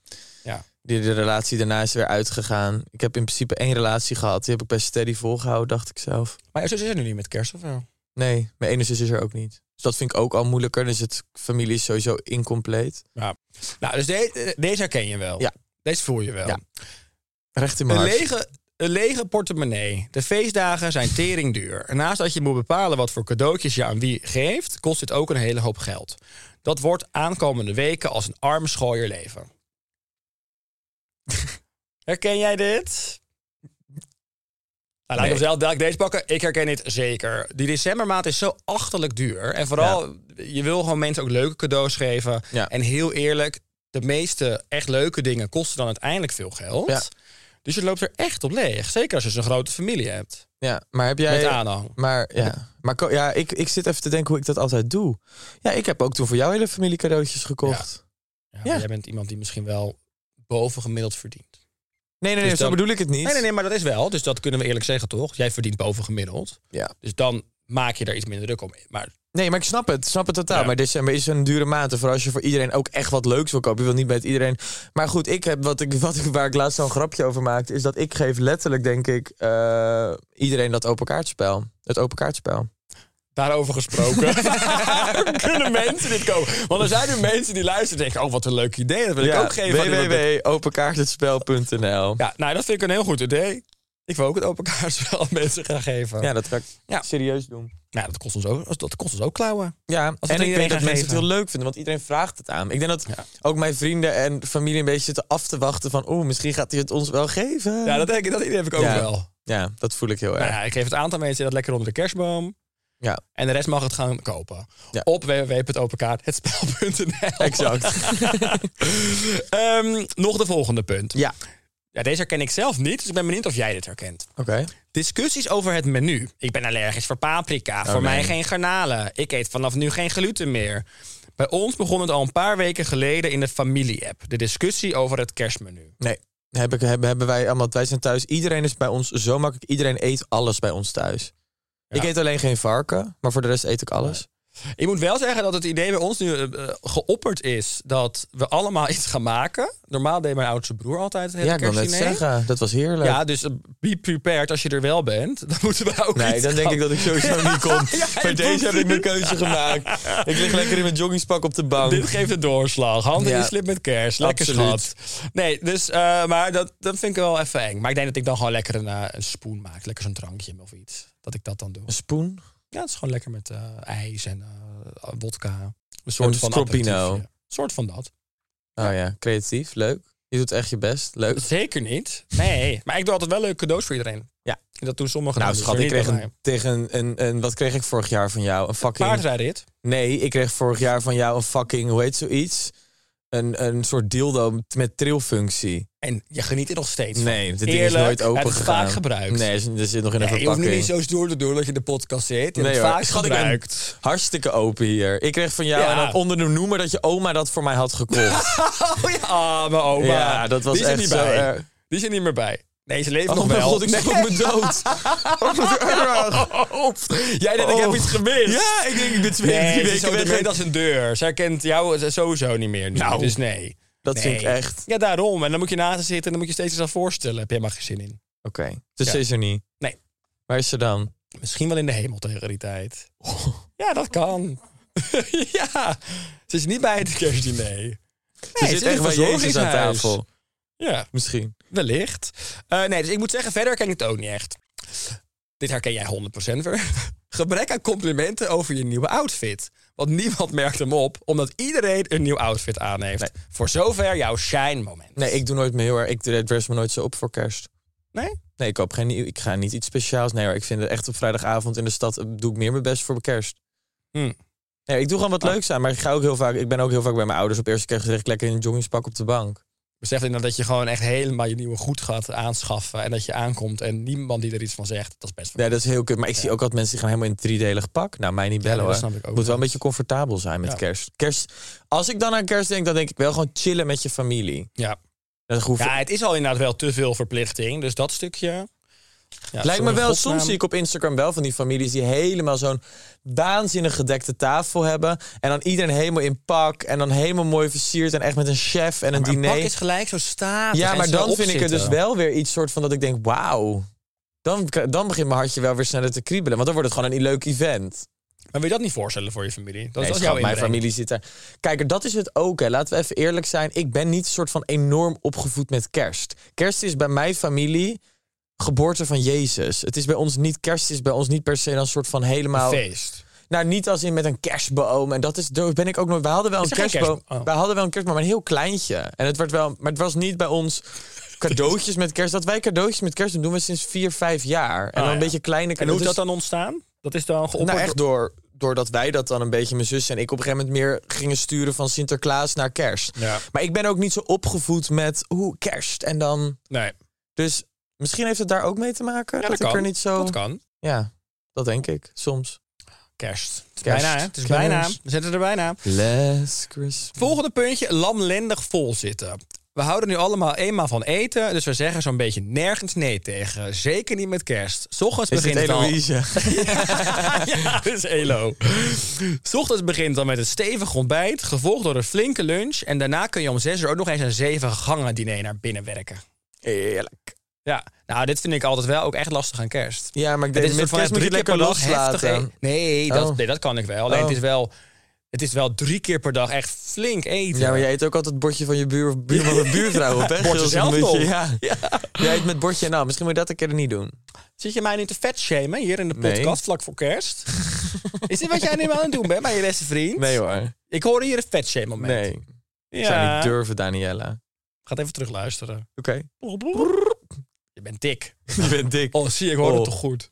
[SPEAKER 3] Ja.
[SPEAKER 1] Die, de relatie daarna is weer uitgegaan. Ik heb in principe één relatie gehad. Die heb ik best steady volgehouden, dacht ik zelf.
[SPEAKER 3] Maar je zus is er nu niet met kerst of wel?
[SPEAKER 1] Nee, mijn ene zus is er ook niet. Dus dat vind ik ook al moeilijker. Dus het familie is sowieso incompleet.
[SPEAKER 3] Ja. Nou, dus de- eh, deze herken je wel.
[SPEAKER 1] Ja.
[SPEAKER 3] Deze voel je wel.
[SPEAKER 1] Ja. Recht in mijn
[SPEAKER 3] Een
[SPEAKER 1] hart.
[SPEAKER 3] lege, een lege portemonnee. De feestdagen zijn teringduur. En naast dat je moet bepalen wat voor cadeautjes je aan wie geeft, kost dit ook een hele hoop geld. Dat wordt aankomende weken als een arm schooier leven. herken jij dit? Nou, laat ik
[SPEAKER 1] Nee.
[SPEAKER 3] hem zelf dadelijk deze pakken. Ik herken dit zeker. Die decembermaand is zo achterlijk duur. En vooral, je wil gewoon mensen ook leuke cadeaus geven.
[SPEAKER 1] Ja.
[SPEAKER 3] En heel eerlijk, de meeste echt leuke dingen kosten dan uiteindelijk veel geld.
[SPEAKER 1] Ja.
[SPEAKER 3] Dus je loopt er echt op leeg. Zeker als je zo'n grote familie hebt.
[SPEAKER 1] Ja, maar heb jij...
[SPEAKER 3] Met aanhang.
[SPEAKER 1] Maar ja, maar ko- ja ik, ik zit even te denken hoe ik dat altijd doe. Ja, ik heb ook toen voor jou hele familie cadeautjes gekocht.
[SPEAKER 3] Ja,
[SPEAKER 1] Ja.
[SPEAKER 3] maar Jij bent iemand die misschien wel bovengemiddeld verdient.
[SPEAKER 1] Nee, nee, nee,
[SPEAKER 3] Dus
[SPEAKER 1] zo
[SPEAKER 3] dan-
[SPEAKER 1] bedoel ik het niet.
[SPEAKER 3] Nee, nee, nee, maar dat is wel. Dus dat kunnen we eerlijk zeggen, toch? Jij verdient bovengemiddeld.
[SPEAKER 1] Ja.
[SPEAKER 3] Dus dan maak je daar iets minder druk om. Maar
[SPEAKER 1] Nee, maar ik snap het. Snap het totaal.
[SPEAKER 3] Ja.
[SPEAKER 1] Maar december is een dure maand. En vooral als je voor iedereen ook echt wat leuks wil kopen. Je wilt niet met iedereen. Maar goed, ik heb wat ik, wat ik, waar ik laatst zo'n grapje over maakte. Is dat ik geef letterlijk, denk ik, eh, iedereen dat open kaartspel. Het open kaartspel.
[SPEAKER 3] daarover gesproken. kunnen mensen dit kopen? Want er zijn nu mensen die luisteren en denken... oh, wat een leuk idee. Dat wil ik ook geven. aan iemand.
[SPEAKER 1] www.openkaarthetspel.nl. Ja.
[SPEAKER 3] Ja, nou, dat vind ik een heel goed idee. Ik wil ook het open kaartspel aan mensen gaan geven.
[SPEAKER 1] dat ga ik
[SPEAKER 3] Ja.
[SPEAKER 1] serieus doen.
[SPEAKER 3] Nou, dat kost ons ook, dat kost ons ook klauwen.
[SPEAKER 1] Ja,
[SPEAKER 3] het
[SPEAKER 1] en ik
[SPEAKER 3] iedereen
[SPEAKER 1] weet dat
[SPEAKER 3] gaan
[SPEAKER 1] mensen het
[SPEAKER 3] geven.
[SPEAKER 1] heel leuk vinden, want iedereen vraagt het aan. Ik denk dat
[SPEAKER 3] Ja.
[SPEAKER 1] ook mijn vrienden en familie een beetje zitten af te wachten van... oeh, misschien gaat hij het ons wel geven.
[SPEAKER 3] Ja, dat denk ik, dat idee heb ik ook
[SPEAKER 1] Ja.
[SPEAKER 3] wel.
[SPEAKER 1] Ja, dat voel ik heel erg.
[SPEAKER 3] Nou ja, ik geef het aantal mensen dat lekker onder de kerstboom.
[SPEAKER 1] Ja.
[SPEAKER 3] En de rest mag het gaan kopen.
[SPEAKER 1] Ja.
[SPEAKER 3] Op www.openkaarthetspel.nl
[SPEAKER 1] Exact.
[SPEAKER 3] Ehm, nog de volgende punt.
[SPEAKER 1] ja,
[SPEAKER 3] Ja, deze herken ik zelf niet, dus ik ben benieuwd of jij dit herkent.
[SPEAKER 1] oké.
[SPEAKER 3] Discussies over het menu. Ik ben allergisch voor paprika. voor
[SPEAKER 1] Oh, nee.
[SPEAKER 3] mij geen garnalen. Ik eet vanaf nu geen gluten meer. Bij ons begon het al een paar weken geleden in de familie-app. De discussie over het kerstmenu.
[SPEAKER 1] Nee. Heb ik, hebben, hebben wij allemaal. Wij zijn thuis. Iedereen is bij ons zo makkelijk. Iedereen eet alles bij ons thuis. Ik eet alleen geen varken, maar voor de rest eet ik alles.
[SPEAKER 3] Ik moet wel zeggen dat het idee bij ons nu eh, eh, geopperd is dat we allemaal iets gaan maken. Normaal deed mijn oudste broer altijd het hele
[SPEAKER 1] Ja, ik wil net
[SPEAKER 3] kerstdiner.
[SPEAKER 1] zeggen. Dat was heerlijk.
[SPEAKER 3] Ja, dus eh, be prepared als je er wel bent. Dan moeten we ook
[SPEAKER 1] Nee,
[SPEAKER 3] iets
[SPEAKER 1] dan denk
[SPEAKER 3] gaan-
[SPEAKER 1] ik dat ik sowieso niet kom.
[SPEAKER 3] Ja,
[SPEAKER 1] Bij
[SPEAKER 3] ik
[SPEAKER 1] deze heb ik mijn
[SPEAKER 3] bedoel-
[SPEAKER 1] keuze gemaakt. Ik lig lekker in mijn joggingspak op de bank.
[SPEAKER 3] Dit geeft een doorslag. Handen in
[SPEAKER 1] Ja.
[SPEAKER 3] de slip met kerst. Lekker
[SPEAKER 1] Absoluut.
[SPEAKER 3] schat. Nee, dus, eh, maar dat, dat vind ik wel even eng. Maar ik denk dat ik dan gewoon lekker een, eh, een spoen maak. Lekker zo'n drankje of iets. Dat ik dat dan doe.
[SPEAKER 1] Een spoen?
[SPEAKER 3] Ja, het is gewoon lekker met eh, ijs en eh wodka. Een soort
[SPEAKER 1] Een
[SPEAKER 3] van
[SPEAKER 1] stroppino.
[SPEAKER 3] aperitiefje. Een soort van dat.
[SPEAKER 1] Oh ja, creatief. Leuk. Je doet echt je best. Leuk.
[SPEAKER 3] Zeker niet. Nee. Maar ik doe altijd wel leuke cadeaus voor iedereen.
[SPEAKER 1] Ja.
[SPEAKER 3] En dat doen sommigen
[SPEAKER 1] Nou,
[SPEAKER 3] dan
[SPEAKER 1] schat,
[SPEAKER 3] dus
[SPEAKER 1] ik
[SPEAKER 3] weer
[SPEAKER 1] kreeg
[SPEAKER 3] niet bij mij.
[SPEAKER 1] een, tegen een, een... Wat kreeg ik vorig jaar van jou? Een fucking...
[SPEAKER 3] paardrijrit.
[SPEAKER 1] Nee, ik kreeg vorig jaar van jou een fucking... Hoe heet zoiets? Een, een soort dildo met trilfunctie.
[SPEAKER 3] En je geniet er nog steeds van.
[SPEAKER 1] Nee, dit ding is
[SPEAKER 3] Eerlijk,
[SPEAKER 1] nooit open
[SPEAKER 3] het is
[SPEAKER 1] gegaan.
[SPEAKER 3] vaak gebruikt.
[SPEAKER 1] Nee, er zit- er zit nog in een
[SPEAKER 3] Nee, je hoeft
[SPEAKER 1] verpakking.
[SPEAKER 3] nu niet zo stoer te doen dat je in de podcast zit. Je
[SPEAKER 1] Nee,
[SPEAKER 3] hebt het
[SPEAKER 1] hoor.
[SPEAKER 3] vaak
[SPEAKER 1] Schat, ik ben-
[SPEAKER 3] gebruikt.
[SPEAKER 1] Hartstikke open hier. Ik kreeg van jou
[SPEAKER 3] Ja.
[SPEAKER 1] en dan onder de noemer dat je oma dat voor mij had gekocht.
[SPEAKER 3] Oh ja, ah, mijn oma.
[SPEAKER 1] Ja, dat was
[SPEAKER 3] die is er
[SPEAKER 1] echt
[SPEAKER 3] niet
[SPEAKER 1] zo
[SPEAKER 3] bij.
[SPEAKER 1] erg.
[SPEAKER 3] Die is er niet meer bij. Nee, ze leeft
[SPEAKER 1] oh
[SPEAKER 3] nog
[SPEAKER 1] mijn
[SPEAKER 3] wel.
[SPEAKER 1] god, ik
[SPEAKER 3] Nee.
[SPEAKER 1] schrok me dood. Oh, wat erg.
[SPEAKER 3] Jij denkt, ik heb
[SPEAKER 1] Oh.
[SPEAKER 3] iets gemist.
[SPEAKER 1] Ja, ik denk, ik ben twee,
[SPEAKER 3] Nee,
[SPEAKER 1] drie
[SPEAKER 3] ze is zo
[SPEAKER 1] weken weg.
[SPEAKER 3] bekend als een deur. Ze herkent jou sowieso niet meer. Nu,
[SPEAKER 1] Nou,
[SPEAKER 3] dus nee.
[SPEAKER 1] dat
[SPEAKER 3] nee.
[SPEAKER 1] vind ik echt.
[SPEAKER 3] Ja, daarom. En dan moet je naast haar zitten en dan moet je steeds jezelf voorstellen. Heb jij maar geen zin in.
[SPEAKER 1] Oké, dus
[SPEAKER 3] Ja.
[SPEAKER 1] ze is er niet.
[SPEAKER 3] Nee.
[SPEAKER 1] Waar is ze dan?
[SPEAKER 3] Misschien wel in de hemel tegen die tijd. Ja, dat kan. ja. Ze is niet bij het kerstdiner. Nee,
[SPEAKER 1] Ze
[SPEAKER 3] is
[SPEAKER 1] zit echt wel Jezus aan tafel.
[SPEAKER 3] Ja.
[SPEAKER 1] Misschien.
[SPEAKER 3] Wellicht. Eh, nee, dus ik moet zeggen, verder herken ik het ook niet echt. Dit herken jij 100% weer. Gebrek aan complimenten over je nieuwe outfit. Want niemand merkt hem op, omdat iedereen een nieuw outfit aan heeft. Voor zover jouw shine moment.
[SPEAKER 1] Nee, ik doe nooit meer heel erg. Ik dress me nooit zo op voor kerst.
[SPEAKER 3] Nee?
[SPEAKER 1] Nee, ik koop geen nieuw. Ik ga niet iets speciaals. Nee, hoor, ik vind het echt op vrijdagavond in de stad eh, doe ik meer mijn best voor mijn kerst.
[SPEAKER 3] Hm. Ah.
[SPEAKER 1] Nee, ik doe gewoon wat leuks aan. Maar ik, ga ook heel vaak, ik ben ook heel vaak bij mijn ouders op eerste kerst lig ik lekker in een joggingspak op de bank.
[SPEAKER 3] Besef inderdaad dat je gewoon echt helemaal je nieuwe goed gaat aanschaffen. En dat je aankomt en niemand die er iets van zegt. Dat is best wel...
[SPEAKER 1] Nee, dat is heel kut. Maar ik zie ook wat mensen die gaan helemaal in een driedelig pak. Nou, mij niet bellen
[SPEAKER 3] dat
[SPEAKER 1] hoor.
[SPEAKER 3] snap ik
[SPEAKER 1] Moet
[SPEAKER 3] ook
[SPEAKER 1] wel een
[SPEAKER 3] niet.
[SPEAKER 1] beetje comfortabel zijn met
[SPEAKER 3] Ja.
[SPEAKER 1] kerst. kerst. Als ik dan aan kerst denk, dan denk ik wel gewoon chillen met je familie.
[SPEAKER 3] Ja.
[SPEAKER 1] Dat hoeft
[SPEAKER 3] ja, het is al inderdaad wel te veel verplichting. Dus dat stukje... Ja,
[SPEAKER 1] Lijkt me
[SPEAKER 3] sorry,
[SPEAKER 1] wel,
[SPEAKER 3] godsnaam.
[SPEAKER 1] soms zie ik op Instagram wel van die families die helemaal zo'n waanzinnig gedekte tafel hebben. En dan iedereen helemaal in pak en dan helemaal mooi versierd en echt met een chef en een
[SPEAKER 3] Maar een
[SPEAKER 1] diner.
[SPEAKER 3] pak is gelijk zo statig.
[SPEAKER 1] ja,
[SPEAKER 3] en
[SPEAKER 1] maar
[SPEAKER 3] zo
[SPEAKER 1] dan vind ik er
[SPEAKER 3] opzitten.
[SPEAKER 1] dus wel weer iets soort van dat ik denk, wauw. Dan, k- dan begint mijn hartje wel weer sneller te kriebelen, want dan wordt het gewoon een leuk event.
[SPEAKER 3] Maar wil je dat niet voorstellen voor je familie? Dat
[SPEAKER 1] Nee,
[SPEAKER 3] is
[SPEAKER 1] schat,
[SPEAKER 3] jouw
[SPEAKER 1] mijn
[SPEAKER 3] inbreng.
[SPEAKER 1] familie zit daar. Kijk, dat is het ook. Hè. Laten we even eerlijk zijn. Ik ben niet soort van enorm opgevoed met kerst. Kerst is bij mijn familie geboorte van Jezus. Het is bij ons niet kerst is bij ons niet per se dan soort van helemaal.
[SPEAKER 3] feest.
[SPEAKER 1] Nou, niet als in met een kerstboom. En dat is daar ben ik ook nooit. We hadden wel een
[SPEAKER 3] Is er geen
[SPEAKER 1] kerstboom.
[SPEAKER 3] kerstboom? Oh.
[SPEAKER 1] We hadden wel een kerstboom, maar een heel kleintje. En het werd wel, maar het was niet bij ons cadeautjes met kerst. Dat wij cadeautjes met kerst doen, doen we sinds vier, vijf jaar. En dan
[SPEAKER 3] Oh, ja.
[SPEAKER 1] een beetje kleine
[SPEAKER 3] En hoe is
[SPEAKER 1] dus-
[SPEAKER 3] dat dan ontstaan? Dat is dan geopperd.
[SPEAKER 1] nou, echt door, doordat wij dat dan een beetje, mijn zus en ik, op een gegeven moment meer gingen sturen van Sinterklaas naar kerst.
[SPEAKER 3] Ja.
[SPEAKER 1] Maar ik ben ook niet zo opgevoed met hoe kerst en dan.
[SPEAKER 3] Nee,
[SPEAKER 1] Dus misschien heeft het daar ook mee te maken.
[SPEAKER 3] ja, dat,
[SPEAKER 1] dat,
[SPEAKER 3] kan.
[SPEAKER 1] ik er niet zo.
[SPEAKER 3] Dat kan.
[SPEAKER 1] Ja, dat denk ik soms.
[SPEAKER 3] Kerst. Het is
[SPEAKER 1] Kerst.
[SPEAKER 3] bijna, hè? Het is
[SPEAKER 1] Kerst.
[SPEAKER 3] bijna. We zitten er bijna.
[SPEAKER 1] Last Christmas.
[SPEAKER 3] Volgende puntje, lamlendig vol zitten. We houden nu allemaal eenmaal van eten, dus we zeggen zo'n beetje nergens nee tegen. Zeker niet met kerst. 's Ochtends
[SPEAKER 1] Is dit
[SPEAKER 3] begint het al...
[SPEAKER 1] Eloïse?
[SPEAKER 3] ja, dat is Elo. 's Ochtends begint dan met een stevig ontbijt, gevolgd door een flinke lunch. En daarna kun je om zes uur ook nog eens een zeven gangen diner naar binnen werken.
[SPEAKER 1] Eerlijk.
[SPEAKER 3] Ja, nou, dit vind ik altijd wel ook echt lastig aan kerst.
[SPEAKER 1] Ja, maar ik
[SPEAKER 3] Dit
[SPEAKER 1] denk,
[SPEAKER 3] is
[SPEAKER 1] met
[SPEAKER 3] een soort
[SPEAKER 1] kerst
[SPEAKER 3] van,
[SPEAKER 1] moet
[SPEAKER 3] ja,
[SPEAKER 1] je
[SPEAKER 3] drie
[SPEAKER 1] lekker
[SPEAKER 3] keer per dag heftig
[SPEAKER 1] loslaten.
[SPEAKER 3] eten. Nee, dat,
[SPEAKER 1] Oh.
[SPEAKER 3] nee, dat kan ik wel. Alleen
[SPEAKER 1] Oh.
[SPEAKER 3] het, is wel, het is wel drie keer per dag echt flink eten.
[SPEAKER 1] Ja, maar jij eet ook altijd het bordje van je buur, buurman of buurvrouw op, hè?
[SPEAKER 3] Bordje
[SPEAKER 1] Gils, een
[SPEAKER 3] zelf
[SPEAKER 1] beetje,
[SPEAKER 3] nog.
[SPEAKER 1] Ja. Jij eet met bordje en nou, misschien moet je dat een keer niet doen.
[SPEAKER 3] Zit je mij nu te vet shamen hier in de
[SPEAKER 1] Nee.
[SPEAKER 3] podcast vlak voor kerst? is dit wat jij nu wel aan het doen bent bij je beste vriend?
[SPEAKER 1] Nee hoor.
[SPEAKER 3] Ik hoor hier een vet shame moment.
[SPEAKER 1] Nee. Ik zou
[SPEAKER 3] Ja.
[SPEAKER 1] niet durven, Daniela.
[SPEAKER 3] Gaat even terug luisteren.
[SPEAKER 1] Oké.
[SPEAKER 3] Je bent dik.
[SPEAKER 1] Je bent dik.
[SPEAKER 3] Oh, zie, ik hoor het
[SPEAKER 1] Oh.
[SPEAKER 3] toch goed.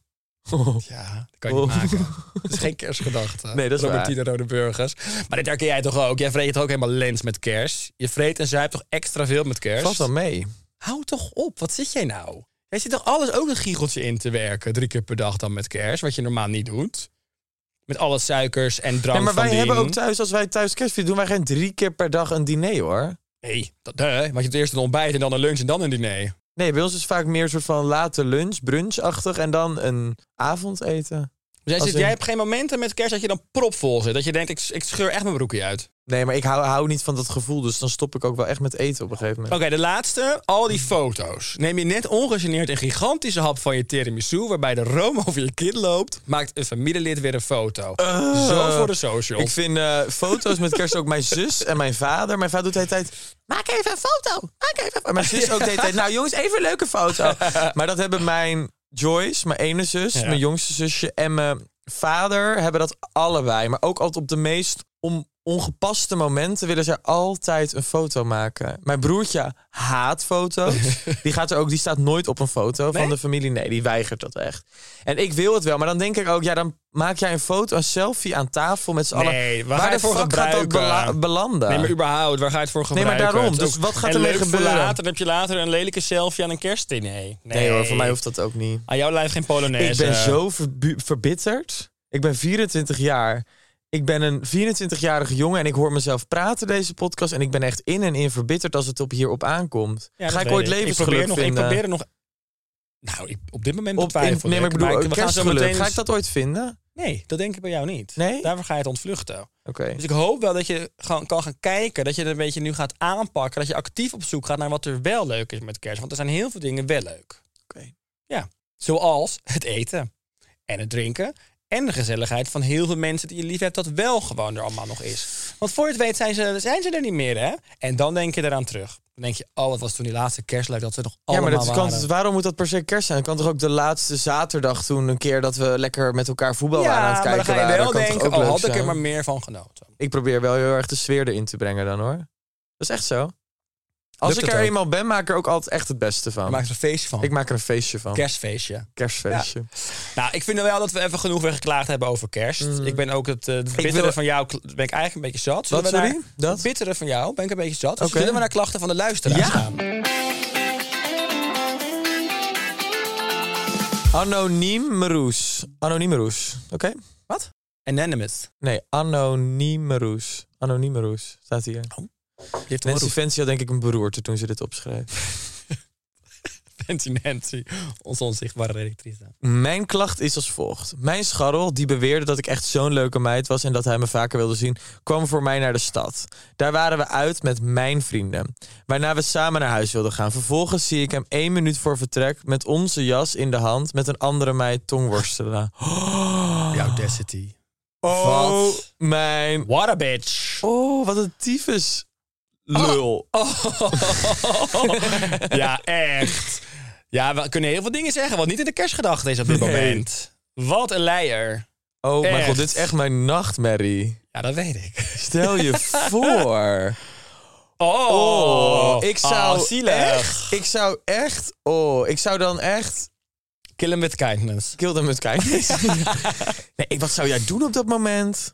[SPEAKER 3] Ja, dat kan je
[SPEAKER 1] Oh.
[SPEAKER 3] niet maken. Dat is geen kerstgedachte.
[SPEAKER 1] Nee, dat is
[SPEAKER 3] Robertine Rode Burgers. Maar dit herken jij toch ook? Jij vreet toch ook helemaal lens met kerst? Je vreet en zuipt toch extra veel met kerst?
[SPEAKER 1] Valt wel mee.
[SPEAKER 3] Hou toch op, wat zit jij nou? Jij zit toch alles ook een giegeltje in te werken, drie keer per dag dan met kerst, wat je normaal niet doet? Met alle suikers en drank
[SPEAKER 1] Nee, maar
[SPEAKER 3] van
[SPEAKER 1] wij
[SPEAKER 3] dien.
[SPEAKER 1] hebben ook thuis, als wij thuis kerstvieren, doen wij geen drie keer per dag een diner hoor.
[SPEAKER 3] Nee, dat, eh, want je hebt eerst een ontbijt en dan een lunch en dan een diner. Dus
[SPEAKER 1] Nee, bij ons is vaak meer een soort van late lunch, brunchachtig en dan een avondeten.
[SPEAKER 3] Jij,
[SPEAKER 1] Als
[SPEAKER 3] zit,
[SPEAKER 1] in-
[SPEAKER 3] jij hebt geen momenten met kerst dat je dan propvol zit. Dat je denkt, ik, ik scheur echt mijn broekje uit.
[SPEAKER 1] Nee, maar ik hou, hou niet van dat gevoel, dus dan stop ik ook wel echt met eten op een gegeven
[SPEAKER 3] Oké,
[SPEAKER 1] moment.
[SPEAKER 3] de laatste. Al die foto's. Neem je net ongegeneerd een gigantische hap van je tiramisu... waarbij de room over je kin loopt... maakt een familielid weer een foto.
[SPEAKER 1] Eh.
[SPEAKER 3] Zo voor de social.
[SPEAKER 1] Ik vind eh, foto's met kerst ook mijn zus en mijn vader. Mijn vader doet de hele tijd, maak even een foto, maak even een foto. Mijn zus ook de hele tijd, nou jongens, even een leuke foto. Maar dat hebben mijn Joyce, mijn ene zus,
[SPEAKER 3] Ja.
[SPEAKER 1] mijn jongste zusje en mijn vader hebben dat allebei. Maar ook altijd op de meest on- ongepaste momenten willen ze altijd een foto maken. Mijn broertje haat foto's. die, gaat er ook, die staat nooit op een foto van de familie. Nee, die weigert dat echt. En ik wil het wel, maar dan denk ik ook, ja, dan maak jij een foto, een selfie aan tafel met z'n allen.
[SPEAKER 3] Nee, waar ga je
[SPEAKER 1] de
[SPEAKER 3] het voor
[SPEAKER 1] fuck gaat dat
[SPEAKER 3] gebruiken?
[SPEAKER 1] bela- belanden?
[SPEAKER 3] Nee, maar überhaupt, waar ga je het voor
[SPEAKER 1] maar
[SPEAKER 3] gebruiken?
[SPEAKER 1] daarom,
[SPEAKER 3] Het is
[SPEAKER 1] dus wat gaat
[SPEAKER 3] en
[SPEAKER 1] ermee
[SPEAKER 3] leuk voor
[SPEAKER 1] gebeuren?
[SPEAKER 3] Later dan heb je later een lelijke selfie aan een kerstdiner. Nee,
[SPEAKER 1] nee hoor, voor mij hoeft dat ook niet.
[SPEAKER 3] Aan jouw lijf geen Polonaise.
[SPEAKER 1] Ik ben zo verbu- verbitterd. Ik ben 24 jaar. Ik ben een 24-jarige jongen en ik hoor mezelf praten deze podcast. En ik ben echt in en in verbitterd als het op hierop aankomt.
[SPEAKER 3] Ja, dat
[SPEAKER 1] Ga ik
[SPEAKER 3] weet
[SPEAKER 1] ooit
[SPEAKER 3] Ik
[SPEAKER 1] levensgeluk
[SPEAKER 3] probeer nog, ik
[SPEAKER 1] vinden?
[SPEAKER 3] probeer er nog... Nou, ik, op dit moment
[SPEAKER 1] op in-
[SPEAKER 3] betwijfel
[SPEAKER 1] nee, maar ik bedoel,
[SPEAKER 3] we gaan zo
[SPEAKER 1] kerstgeluk.
[SPEAKER 3] meteen
[SPEAKER 1] Ga
[SPEAKER 3] eens-
[SPEAKER 1] ik dat ooit vinden?
[SPEAKER 3] Nee, dat denk ik bij jou niet.
[SPEAKER 1] Nee?
[SPEAKER 3] Daarvoor ga je het ontvluchten.
[SPEAKER 1] Oké.
[SPEAKER 3] Dus ik hoop wel dat je gaan, kan gaan kijken, dat je het een beetje nu gaat aanpakken, dat je actief op zoek gaat naar wat er wel leuk is met kerst. Want er zijn heel veel dingen wel leuk.
[SPEAKER 1] Oké.
[SPEAKER 3] Ja, zoals het eten en het drinken en de gezelligheid van heel veel mensen die je lief hebt, dat wel gewoon er allemaal nog is. Want voor je het weet zijn ze, zijn ze er niet meer, hè? En dan denk je eraan terug. Dan denk je, oh, wat was toen die laatste kerstluik dat ze nog
[SPEAKER 1] Ja,
[SPEAKER 3] allemaal
[SPEAKER 1] maar dat kan,
[SPEAKER 3] waren.
[SPEAKER 1] waarom moet dat per se kerst zijn? Het kan toch ook de laatste zaterdag toen een keer dat we lekker met elkaar voetbal
[SPEAKER 3] ja,
[SPEAKER 1] waren aan het kijken
[SPEAKER 3] maar dan ga je
[SPEAKER 1] waren.
[SPEAKER 3] wel
[SPEAKER 1] Kan toch
[SPEAKER 3] denken,
[SPEAKER 1] ook
[SPEAKER 3] oh,
[SPEAKER 1] leuk
[SPEAKER 3] had ik er
[SPEAKER 1] zijn?
[SPEAKER 3] maar meer van genoten.
[SPEAKER 1] Ik probeer wel heel erg de sfeer erin te brengen dan hoor. Dat is echt zo. Als
[SPEAKER 3] Lukt
[SPEAKER 1] ik
[SPEAKER 3] het
[SPEAKER 1] er
[SPEAKER 3] ook?
[SPEAKER 1] eenmaal ben, maak ik er ook altijd echt het beste van.
[SPEAKER 3] Je maakt er een feestje van.
[SPEAKER 1] Ik maak er een feestje van.
[SPEAKER 3] Kerstfeestje.
[SPEAKER 1] Kerstfeestje.
[SPEAKER 3] Nou, ik vind wel dat we even genoeg weer geklaagd hebben over kerst. Ik ben ook het, eh, het bittere
[SPEAKER 1] Mm. wil-
[SPEAKER 3] van jou kl- ben ik eigenlijk een beetje zat.
[SPEAKER 1] Wat,
[SPEAKER 3] we naar-
[SPEAKER 1] sorry? Dat?
[SPEAKER 3] Het bittere van jou ben ik een beetje zat. Dus
[SPEAKER 1] Oké.
[SPEAKER 3] zullen we naar klachten van de luisteraars
[SPEAKER 1] Ja.
[SPEAKER 3] gaan?
[SPEAKER 1] Anoniem Anonymeroes. Oké? Wat?
[SPEAKER 3] Anonymous.
[SPEAKER 1] Nee, Anonymeroes. Anonymeroes staat hier.
[SPEAKER 3] Die heeft een
[SPEAKER 1] Nancy
[SPEAKER 3] beroep.
[SPEAKER 1] Fancy had denk ik een beroerte toen ze dit opschreef.
[SPEAKER 3] Nancy Nancy, onze onzichtbare redactrice.
[SPEAKER 1] Mijn klacht is als volgt. Mijn scharrel, die beweerde dat ik echt zo'n leuke meid was en dat hij me vaker wilde zien, kwam voor mij naar de stad. Daar waren we uit met mijn vrienden, waarna we samen naar huis wilden gaan. Vervolgens zie ik hem één minuut voor vertrek met onze jas in de hand met een andere meid tongworstelen.
[SPEAKER 3] The audacity.
[SPEAKER 1] Oh,
[SPEAKER 3] Wat?
[SPEAKER 1] mijn
[SPEAKER 3] What a bitch.
[SPEAKER 1] Oh, wat een tyfus. Lul.
[SPEAKER 3] ja, echt. Ja, we kunnen heel veel dingen zeggen wat niet in de kerstgedachte is op dit
[SPEAKER 1] Nee.
[SPEAKER 3] moment. Wat een leier.
[SPEAKER 1] Oh, mijn
[SPEAKER 3] Echt.
[SPEAKER 1] god, dit is echt mijn nachtmerrie.
[SPEAKER 3] Ja, dat weet ik.
[SPEAKER 1] Stel je voor.
[SPEAKER 3] Oh,
[SPEAKER 1] Oh, ik zou
[SPEAKER 3] oh, zielig.
[SPEAKER 1] echt, ik zou echt, oh, ik zou dan echt
[SPEAKER 3] Kill him with kindness.
[SPEAKER 1] kill them with kindness. nee, ik- wat zou jij doen op dat moment?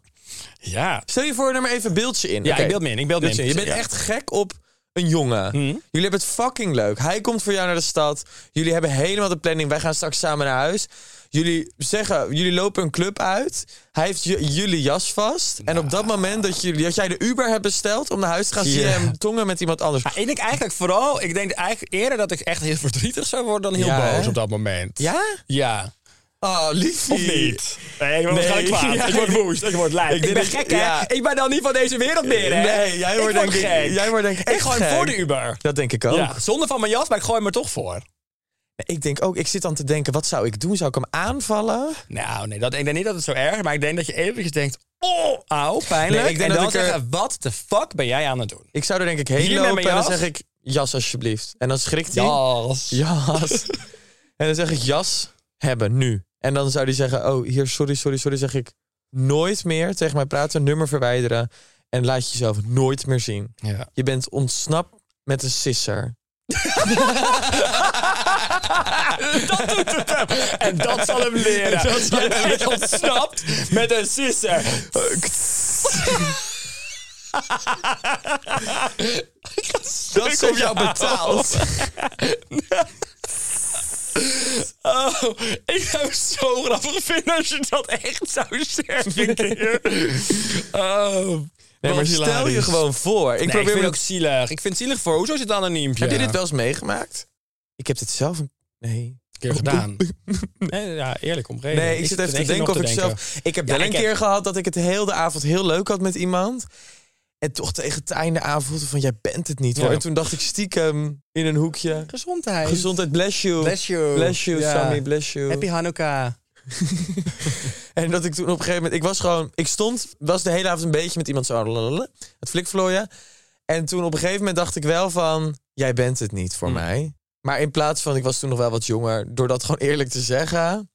[SPEAKER 3] Ja.
[SPEAKER 1] Stel je voor, er maar even een beeldje in.
[SPEAKER 3] Ja,
[SPEAKER 1] Oké.
[SPEAKER 3] ik beeld me in, ik beeld me in.
[SPEAKER 1] Je bent
[SPEAKER 3] Ja. Mhm.
[SPEAKER 1] echt gek op een jongen. Jullie hebben het fucking leuk. Hij komt voor jou naar de stad. Jullie hebben helemaal de planning. Wij gaan straks samen naar huis. Jullie zeggen, jullie lopen een club uit. Hij heeft j- jullie jas vast. En op dat moment dat, jullie, dat jij de Uber hebt besteld om naar huis te gaan, zie je
[SPEAKER 3] Nou. Ja.
[SPEAKER 1] hem tongen met iemand anders.
[SPEAKER 3] Ja, ik denk eigenlijk vooral, ik denk eigenlijk eerder dat ik echt heel verdrietig zou worden dan heel
[SPEAKER 1] Ja,
[SPEAKER 3] boos
[SPEAKER 1] hè?
[SPEAKER 3] op dat moment.
[SPEAKER 1] Ja?
[SPEAKER 3] Ja.
[SPEAKER 1] Oh, liefie.
[SPEAKER 3] Of niet? Nee, ik word
[SPEAKER 1] Nee.
[SPEAKER 3] waarschijnlijk kwaad.
[SPEAKER 1] Ja.
[SPEAKER 3] Ik word woest, ik word lijp. Ik,
[SPEAKER 1] denk
[SPEAKER 3] ben
[SPEAKER 1] dat-
[SPEAKER 3] gek, hè?
[SPEAKER 1] ja.
[SPEAKER 3] Ik ben dan niet van deze wereld meer, hè?
[SPEAKER 1] Nee, jij wordt
[SPEAKER 3] ik word
[SPEAKER 1] denk ik-
[SPEAKER 3] gek.
[SPEAKER 1] jij wordt denk ik
[SPEAKER 3] ik
[SPEAKER 1] echt
[SPEAKER 3] gooi hem
[SPEAKER 1] gek.
[SPEAKER 3] voor de Uber.
[SPEAKER 1] Dat denk ik ook.
[SPEAKER 3] Ja, zonder van mijn jas, maar ik gooi hem er toch voor.
[SPEAKER 1] Ik denk ook, ik zit dan te denken, wat zou ik doen? Zou ik hem aanvallen?
[SPEAKER 3] Nou, nee, dat, ik denk niet dat het zo erg is, maar ik denk dat je eventjes denkt... Oh, auw, pijnlijk.
[SPEAKER 1] Nee, ik denk
[SPEAKER 3] en dan
[SPEAKER 1] dat ik er-
[SPEAKER 3] zeggen, wat de fuck ben jij aan het doen?
[SPEAKER 1] Ik zou er denk ik heen
[SPEAKER 3] Hier met
[SPEAKER 1] lopen en
[SPEAKER 3] mijn
[SPEAKER 1] dan
[SPEAKER 3] jas?
[SPEAKER 1] zeg ik, jas alsjeblieft. En dan schrikt hij.
[SPEAKER 3] Jas.
[SPEAKER 1] Jas. en dan zeg ik jas hebben nu. En dan zou die zeggen: Oh, hier, sorry, sorry, sorry. Zeg ik nooit meer tegen mij praten, nummer verwijderen. En laat jezelf nooit meer zien.
[SPEAKER 3] Ja.
[SPEAKER 1] Je bent ontsnapt met een sisser.
[SPEAKER 3] Dat doet het hem. En dat zal hem leren. Je bent ontsnapt met een sisser.
[SPEAKER 1] Dat is op jou betaald.
[SPEAKER 3] Oh, ik zou het zo grappig vinden als je dat echt zou zeggen. een keer. Oh.
[SPEAKER 1] Nee, maar
[SPEAKER 3] Wat
[SPEAKER 1] stel je gewoon voor. Ik
[SPEAKER 3] Ik
[SPEAKER 1] probeer
[SPEAKER 3] probeer
[SPEAKER 1] me
[SPEAKER 3] ook zielig. Ik vind het zielig voor. Hoezo is het anoniem?
[SPEAKER 1] Heb je dit wel eens meegemaakt? Ik heb dit zelf een... Nee.
[SPEAKER 3] keer gedaan? nee, ja, eerlijk omgeven.
[SPEAKER 1] Nee, ik zit even te denken of ik zelf... Ik heb
[SPEAKER 3] Ja,
[SPEAKER 1] wel een
[SPEAKER 3] ik heb-
[SPEAKER 1] keer gehad dat ik het heel de avond heel leuk had met iemand. En toch tegen het einde aanvoelde van, jij bent het niet hoor.
[SPEAKER 3] Ja.
[SPEAKER 1] En toen dacht ik stiekem in een hoekje...
[SPEAKER 3] Gezondheid.
[SPEAKER 1] Gezondheid, bless you.
[SPEAKER 3] Bless you.
[SPEAKER 1] Bless you,
[SPEAKER 3] Ja.
[SPEAKER 1] Sammy, bless you.
[SPEAKER 3] Happy Hanukkah.
[SPEAKER 1] En dat ik toen op een gegeven moment... Ik was gewoon... Ik stond, was de hele avond een beetje met iemand zo... lalalala, Het flikvlooien. En toen op een gegeven moment dacht ik wel van... Jij bent het niet
[SPEAKER 3] Hmm.
[SPEAKER 1] voor mij. Maar in plaats van... Ik was toen nog wel wat jonger. Door dat gewoon eerlijk te zeggen...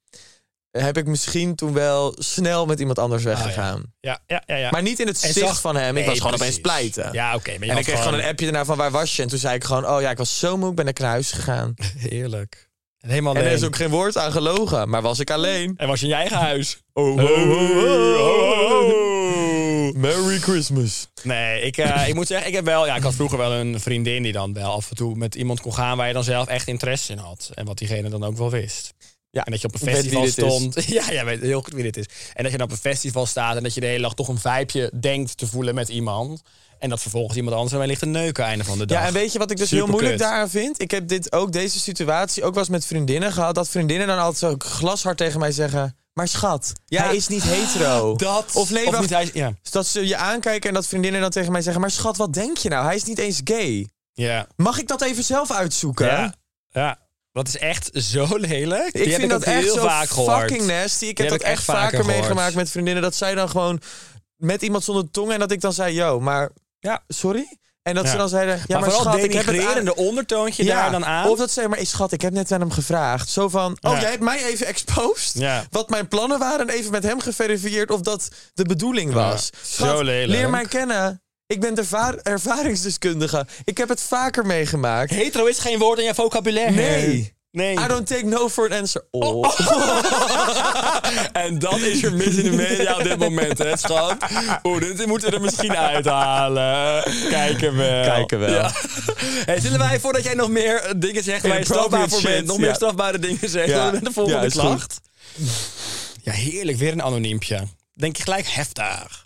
[SPEAKER 1] Heb ik misschien toen wel snel met iemand anders weggegaan.
[SPEAKER 3] Ah, Ja, ja, ja. ja.
[SPEAKER 1] Maar niet in het
[SPEAKER 3] En
[SPEAKER 1] zicht
[SPEAKER 3] zag-
[SPEAKER 1] van hem. Ik
[SPEAKER 3] Nee,
[SPEAKER 1] was gewoon
[SPEAKER 3] precies.
[SPEAKER 1] opeens pleiten.
[SPEAKER 3] Ja, oké. maar je
[SPEAKER 1] en ik
[SPEAKER 3] had
[SPEAKER 1] kreeg gewoon... een appje daarna van waar was je? En toen zei ik gewoon, oh ja, ik was zo moe, ik ben lekker naar huis gegaan.
[SPEAKER 3] Heerlijk. En helemaal
[SPEAKER 1] En er is
[SPEAKER 3] alleen.
[SPEAKER 1] ook geen woord aan gelogen, maar was ik alleen.
[SPEAKER 3] En was je in je eigen huis?
[SPEAKER 1] Oh, Merry Christmas.
[SPEAKER 3] Nee, ik, eh, ik moet zeggen, ik heb wel. Ja, ik had vroeger wel een vriendin die dan wel af en toe met iemand kon gaan waar je dan zelf echt interesse in had. En wat diegene dan ook wel wist.
[SPEAKER 1] Ja,
[SPEAKER 3] En dat je op een
[SPEAKER 1] ik weet
[SPEAKER 3] festival
[SPEAKER 1] wie dit is.
[SPEAKER 3] stond. Ja, jij weet heel goed wie dit is. En dat je dan op een festival staat en dat je de hele dag toch een vijpje denkt te voelen met iemand. En dat vervolgens iemand anders ermee ligt te neuken einde van de dag.
[SPEAKER 1] Ja, en weet je wat ik dus heel
[SPEAKER 3] Superkut.
[SPEAKER 1] moeilijk daaraan vind? Ik heb dit ook, deze situatie, ook wel eens met vriendinnen gehad. Dat vriendinnen dan altijd zo glashard tegen mij zeggen... Maar schat,
[SPEAKER 3] Ja.
[SPEAKER 1] hij is niet hetero.
[SPEAKER 3] Dat.
[SPEAKER 1] Of nee,
[SPEAKER 3] of
[SPEAKER 1] wacht. Dus
[SPEAKER 3] niet, hij, ja.
[SPEAKER 1] Dat ze je aankijken en dat vriendinnen dan tegen mij zeggen... Maar schat, wat denk je nou? Hij is niet eens gay.
[SPEAKER 3] Ja.
[SPEAKER 1] Mag ik dat even zelf uitzoeken?
[SPEAKER 3] Ja. ja. Dat is echt zo lelijk. Die
[SPEAKER 1] Ik
[SPEAKER 3] heb
[SPEAKER 1] vind dat
[SPEAKER 3] ook
[SPEAKER 1] echt
[SPEAKER 3] heel
[SPEAKER 1] zo
[SPEAKER 3] vaak gehoord.
[SPEAKER 1] fucking nasty. Ik heb,
[SPEAKER 3] heb
[SPEAKER 1] dat
[SPEAKER 3] ik
[SPEAKER 1] echt vaker,
[SPEAKER 3] gehoord.
[SPEAKER 1] meegemaakt met vriendinnen. Dat zij dan gewoon met iemand zonder tong... en dat ik dan zei, yo, maar
[SPEAKER 3] Ja.
[SPEAKER 1] sorry? En dat
[SPEAKER 3] Ja.
[SPEAKER 1] ze dan zeiden, ja, maar,
[SPEAKER 3] maar, vooral
[SPEAKER 1] schat, ik heb het aan...
[SPEAKER 3] denigrerende ondertoontje daar dan aan.
[SPEAKER 1] Of dat ze maar, "Hey, schat, ik heb net aan hem gevraagd. Zo van, oh,
[SPEAKER 3] Ja.
[SPEAKER 1] jij hebt mij even exposed.
[SPEAKER 3] Ja.
[SPEAKER 1] Wat mijn plannen waren en even met hem geverifieerd of dat de bedoeling was.
[SPEAKER 3] zo
[SPEAKER 1] Schat,
[SPEAKER 3] lelijk.
[SPEAKER 1] leer mij kennen. Ik ben ervaar- ervaringsdeskundige. Ik heb het vaker meegemaakt.
[SPEAKER 3] Hetero is geen woord in je vocabulaire.
[SPEAKER 1] Nee.
[SPEAKER 3] Nee.
[SPEAKER 1] I don't take no for an answer. Oh.
[SPEAKER 3] En dat is er mis in de media op dit moment, hè, schat? Oeh, Oh, dit moeten we er misschien uithalen. Kijken wel.
[SPEAKER 1] Kijken wel.
[SPEAKER 3] Ja. Hey, zullen wij, voordat jij nog meer eh, dingen zegt waar je strafbaar
[SPEAKER 1] Inappropriate
[SPEAKER 3] voor bent,
[SPEAKER 1] shit,
[SPEAKER 3] nog meer
[SPEAKER 1] ja.
[SPEAKER 3] strafbare dingen zeggen
[SPEAKER 1] Ja.
[SPEAKER 3] dan met de volgende
[SPEAKER 1] Ja, is goed.
[SPEAKER 3] klacht? Ja, heerlijk. Weer een anoniempje. Denk je gelijk heftig.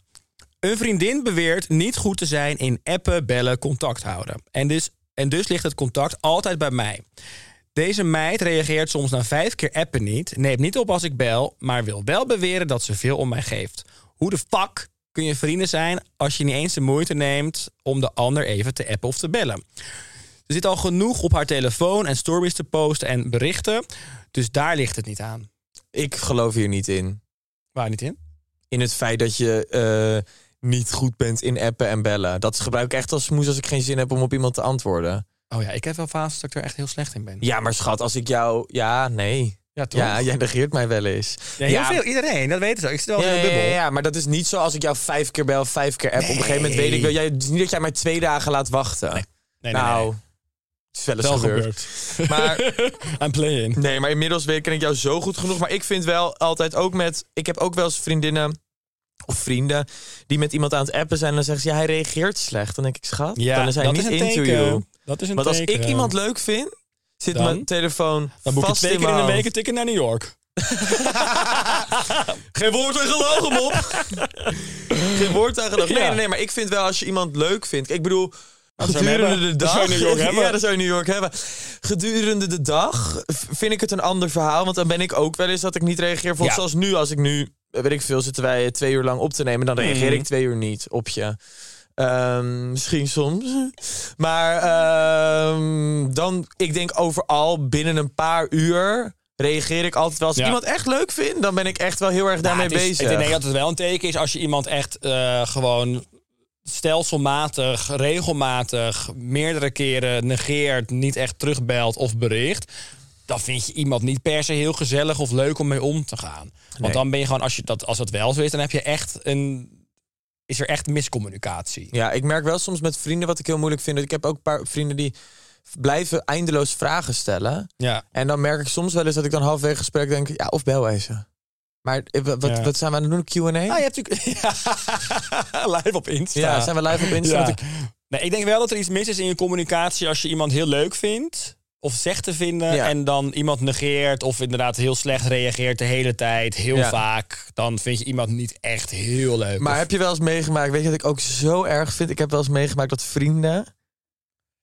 [SPEAKER 3] Een vriendin beweert niet goed te zijn in appen, bellen, contact houden. En dus, en dus ligt het contact altijd bij mij. Deze meid reageert soms na vijf keer appen niet, neemt niet op als ik bel, maar wil wel beweren dat ze veel om mij geeft. Hoe de fuck kun je vrienden zijn als je niet eens de moeite neemt om de ander even te appen of te bellen? Ze zit al genoeg op haar telefoon en stories te posten en berichten, dus daar ligt het niet aan.
[SPEAKER 1] Ik geloof hier niet in.
[SPEAKER 3] Waar niet in?
[SPEAKER 1] In het feit dat je eh, niet goed bent in appen en bellen. Dat gebruik ik echt als smoes als ik geen zin heb om op iemand te antwoorden.
[SPEAKER 3] Oh ja, ik heb wel fases dat ik er echt heel slecht in ben.
[SPEAKER 1] Ja, maar schat, als ik jou... Ja, nee.
[SPEAKER 3] Ja, toch?
[SPEAKER 1] Ja, jij negeert mij wel eens.
[SPEAKER 3] Ja, heel veel, iedereen, dat weten ze. Ik zit al
[SPEAKER 1] Ja,
[SPEAKER 3] in
[SPEAKER 1] ja,
[SPEAKER 3] een bubbel.
[SPEAKER 1] ja, ja, maar dat is niet zo als ik jou vijf keer bel, vijf keer app. Op een gegeven moment weet ik wel... Jij, het is niet dat jij mij twee dagen laat wachten.
[SPEAKER 3] Nee,
[SPEAKER 1] nou,
[SPEAKER 3] nee, nee.
[SPEAKER 1] het is wel eens
[SPEAKER 3] Wel
[SPEAKER 1] gebeurd.
[SPEAKER 3] gebeurd.
[SPEAKER 1] Maar
[SPEAKER 3] I'm playing.
[SPEAKER 1] nee, maar inmiddels weet, ken ik jou zo goed genoeg. Maar ik vind wel altijd ook met... Ik heb ook wel eens vriendinnen of vrienden die met iemand aan het appen zijn... en dan zeggen ze, ja, hij reageert slecht. Dan denk ik, schat, dan is hij niet into you.
[SPEAKER 3] Dat is een
[SPEAKER 1] Want als
[SPEAKER 3] teken.
[SPEAKER 1] ik iemand leuk vind, zit
[SPEAKER 3] Dan?
[SPEAKER 1] mijn telefoon
[SPEAKER 3] Dan boek je
[SPEAKER 1] vast
[SPEAKER 3] twee
[SPEAKER 1] in
[SPEAKER 3] keer
[SPEAKER 1] mijn
[SPEAKER 3] in de
[SPEAKER 1] hand.
[SPEAKER 3] week een ticket naar New York.
[SPEAKER 1] Geen woord aan gelogen, mop. Geen woord aan gelogen. Nee,
[SPEAKER 3] Ja.
[SPEAKER 1] nee, nee, maar ik vind wel als je iemand leuk vindt. Ik bedoel, nou,
[SPEAKER 3] zou je hem
[SPEAKER 1] gedurende
[SPEAKER 3] hebben.
[SPEAKER 1] de
[SPEAKER 3] Dat
[SPEAKER 1] dag.
[SPEAKER 3] zou je in New York hebben.
[SPEAKER 1] Ja, dat zou je in New York hebben. Gedurende de dag v- vind ik het een ander verhaal. Want dan ben ik ook wel eens dat ik niet reageer. Volgens
[SPEAKER 3] Ja.
[SPEAKER 1] zoals nu, als ik nu, eh, weet ik veel, zitten wij eh, twee uur lang op te nemen. Dan reageer
[SPEAKER 3] Mhm.
[SPEAKER 1] ik twee uur niet op je. Ehm, misschien soms. Maar ehm, dan, ik denk overal binnen een paar uur reageer ik altijd wel. Als ik
[SPEAKER 3] Ja.
[SPEAKER 1] iemand echt leuk vind, dan ben ik echt wel heel erg daarmee
[SPEAKER 3] het is-
[SPEAKER 1] bezig.
[SPEAKER 3] Ik denk dat het wel een teken is als je iemand echt eh, gewoon stelselmatig, regelmatig, meerdere keren negeert, niet echt terugbelt of bericht. Dan vind je iemand niet per se heel gezellig of leuk om mee om te gaan. Want
[SPEAKER 1] Nee.
[SPEAKER 3] dan ben je gewoon, als, je dat, als dat wel zo is, dan heb je echt een. Is er echt miscommunicatie?
[SPEAKER 1] Ja, ik merk wel soms met vrienden wat ik heel moeilijk vind. Ik heb ook een paar vrienden die blijven eindeloos vragen stellen.
[SPEAKER 3] Ja.
[SPEAKER 1] En dan merk ik soms wel eens dat ik dan halverwege gesprek denk... Ja, of bel even. Maar eh, wa- wat,
[SPEAKER 3] Ja.
[SPEAKER 1] wat zijn we aan het doen? Q&A?
[SPEAKER 3] Ah, je hebt natuurlijk. live op Insta.
[SPEAKER 1] ja, zijn we live op Insta?
[SPEAKER 3] Ja.
[SPEAKER 1] Want ik-
[SPEAKER 3] Nee, ik denk wel dat er iets mis is in je communicatie als je iemand heel leuk vindt. of zeg te vinden
[SPEAKER 1] Ja.
[SPEAKER 3] en dan iemand negeert of inderdaad heel slecht reageert de hele tijd, heel
[SPEAKER 1] Ja.
[SPEAKER 3] vaak, dan vind je iemand niet echt heel leuk.
[SPEAKER 1] Maar
[SPEAKER 3] Of-
[SPEAKER 1] heb je wel eens meegemaakt, weet je wat ik ook zo erg vind? Ik heb wel eens meegemaakt dat vrienden...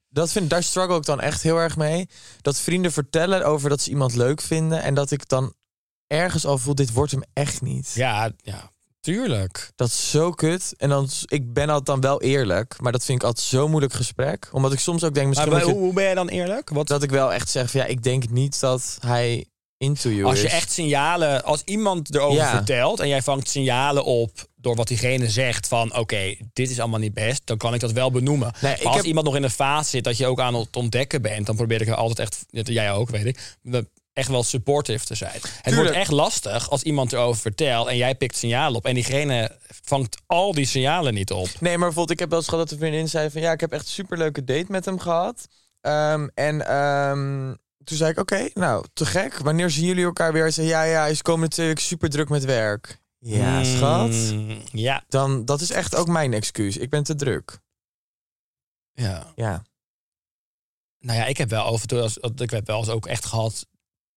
[SPEAKER 1] Dat vind, daar struggle ik dan echt heel erg mee. Dat vrienden vertellen over dat ze iemand leuk vinden... en dat ik dan ergens al voel, dit wordt hem echt niet.
[SPEAKER 3] ja, ja, tuurlijk.
[SPEAKER 1] Dat is zo kut. En dan, ik ben altijd dan wel eerlijk, maar dat vind ik altijd zo'n moeilijk gesprek. Omdat ik soms ook denk,
[SPEAKER 3] Maar
[SPEAKER 1] misschien
[SPEAKER 3] bij-
[SPEAKER 1] moet je-
[SPEAKER 3] hoe, hoe ben je dan eerlijk? Wat,
[SPEAKER 1] dat ik wel echt zeg, van, ja, ik denk niet dat hij into you
[SPEAKER 3] als je
[SPEAKER 1] is.
[SPEAKER 3] echt signalen, als iemand erover
[SPEAKER 1] Ja.
[SPEAKER 3] vertelt en jij vangt signalen op door wat diegene zegt van oké, dit is allemaal niet best, dan kan ik dat wel benoemen.
[SPEAKER 1] Nee,
[SPEAKER 3] maar
[SPEAKER 1] ik
[SPEAKER 3] als
[SPEAKER 1] heb-
[SPEAKER 3] iemand nog in een fase zit dat je ook aan het ontdekken bent, dan probeer ik er altijd echt, ja, jij ook weet ik, echt wel supportive te zijn. Het wordt echt lastig als iemand erover vertelt en jij pikt signalen op en diegene vangt al die signalen niet op.
[SPEAKER 1] Nee, maar bijvoorbeeld, ik heb wel eens gehad dat een vriendin zei van... ja, ik heb echt een superleuke date met hem gehad. Ehm, en ehm, toen zei ik, oké, nou, te gek. Wanneer zien jullie elkaar weer? Hij zei, ja, ja, hij is komende twee weken super druk met werk. Ja, schat.
[SPEAKER 3] Mm, ja.
[SPEAKER 1] Dan, dat is echt ook mijn excuus. Ik ben te druk.
[SPEAKER 3] ja.
[SPEAKER 1] Ja.
[SPEAKER 3] Nou ja, ik heb wel af en toe, als, ik heb wel eens ook echt gehad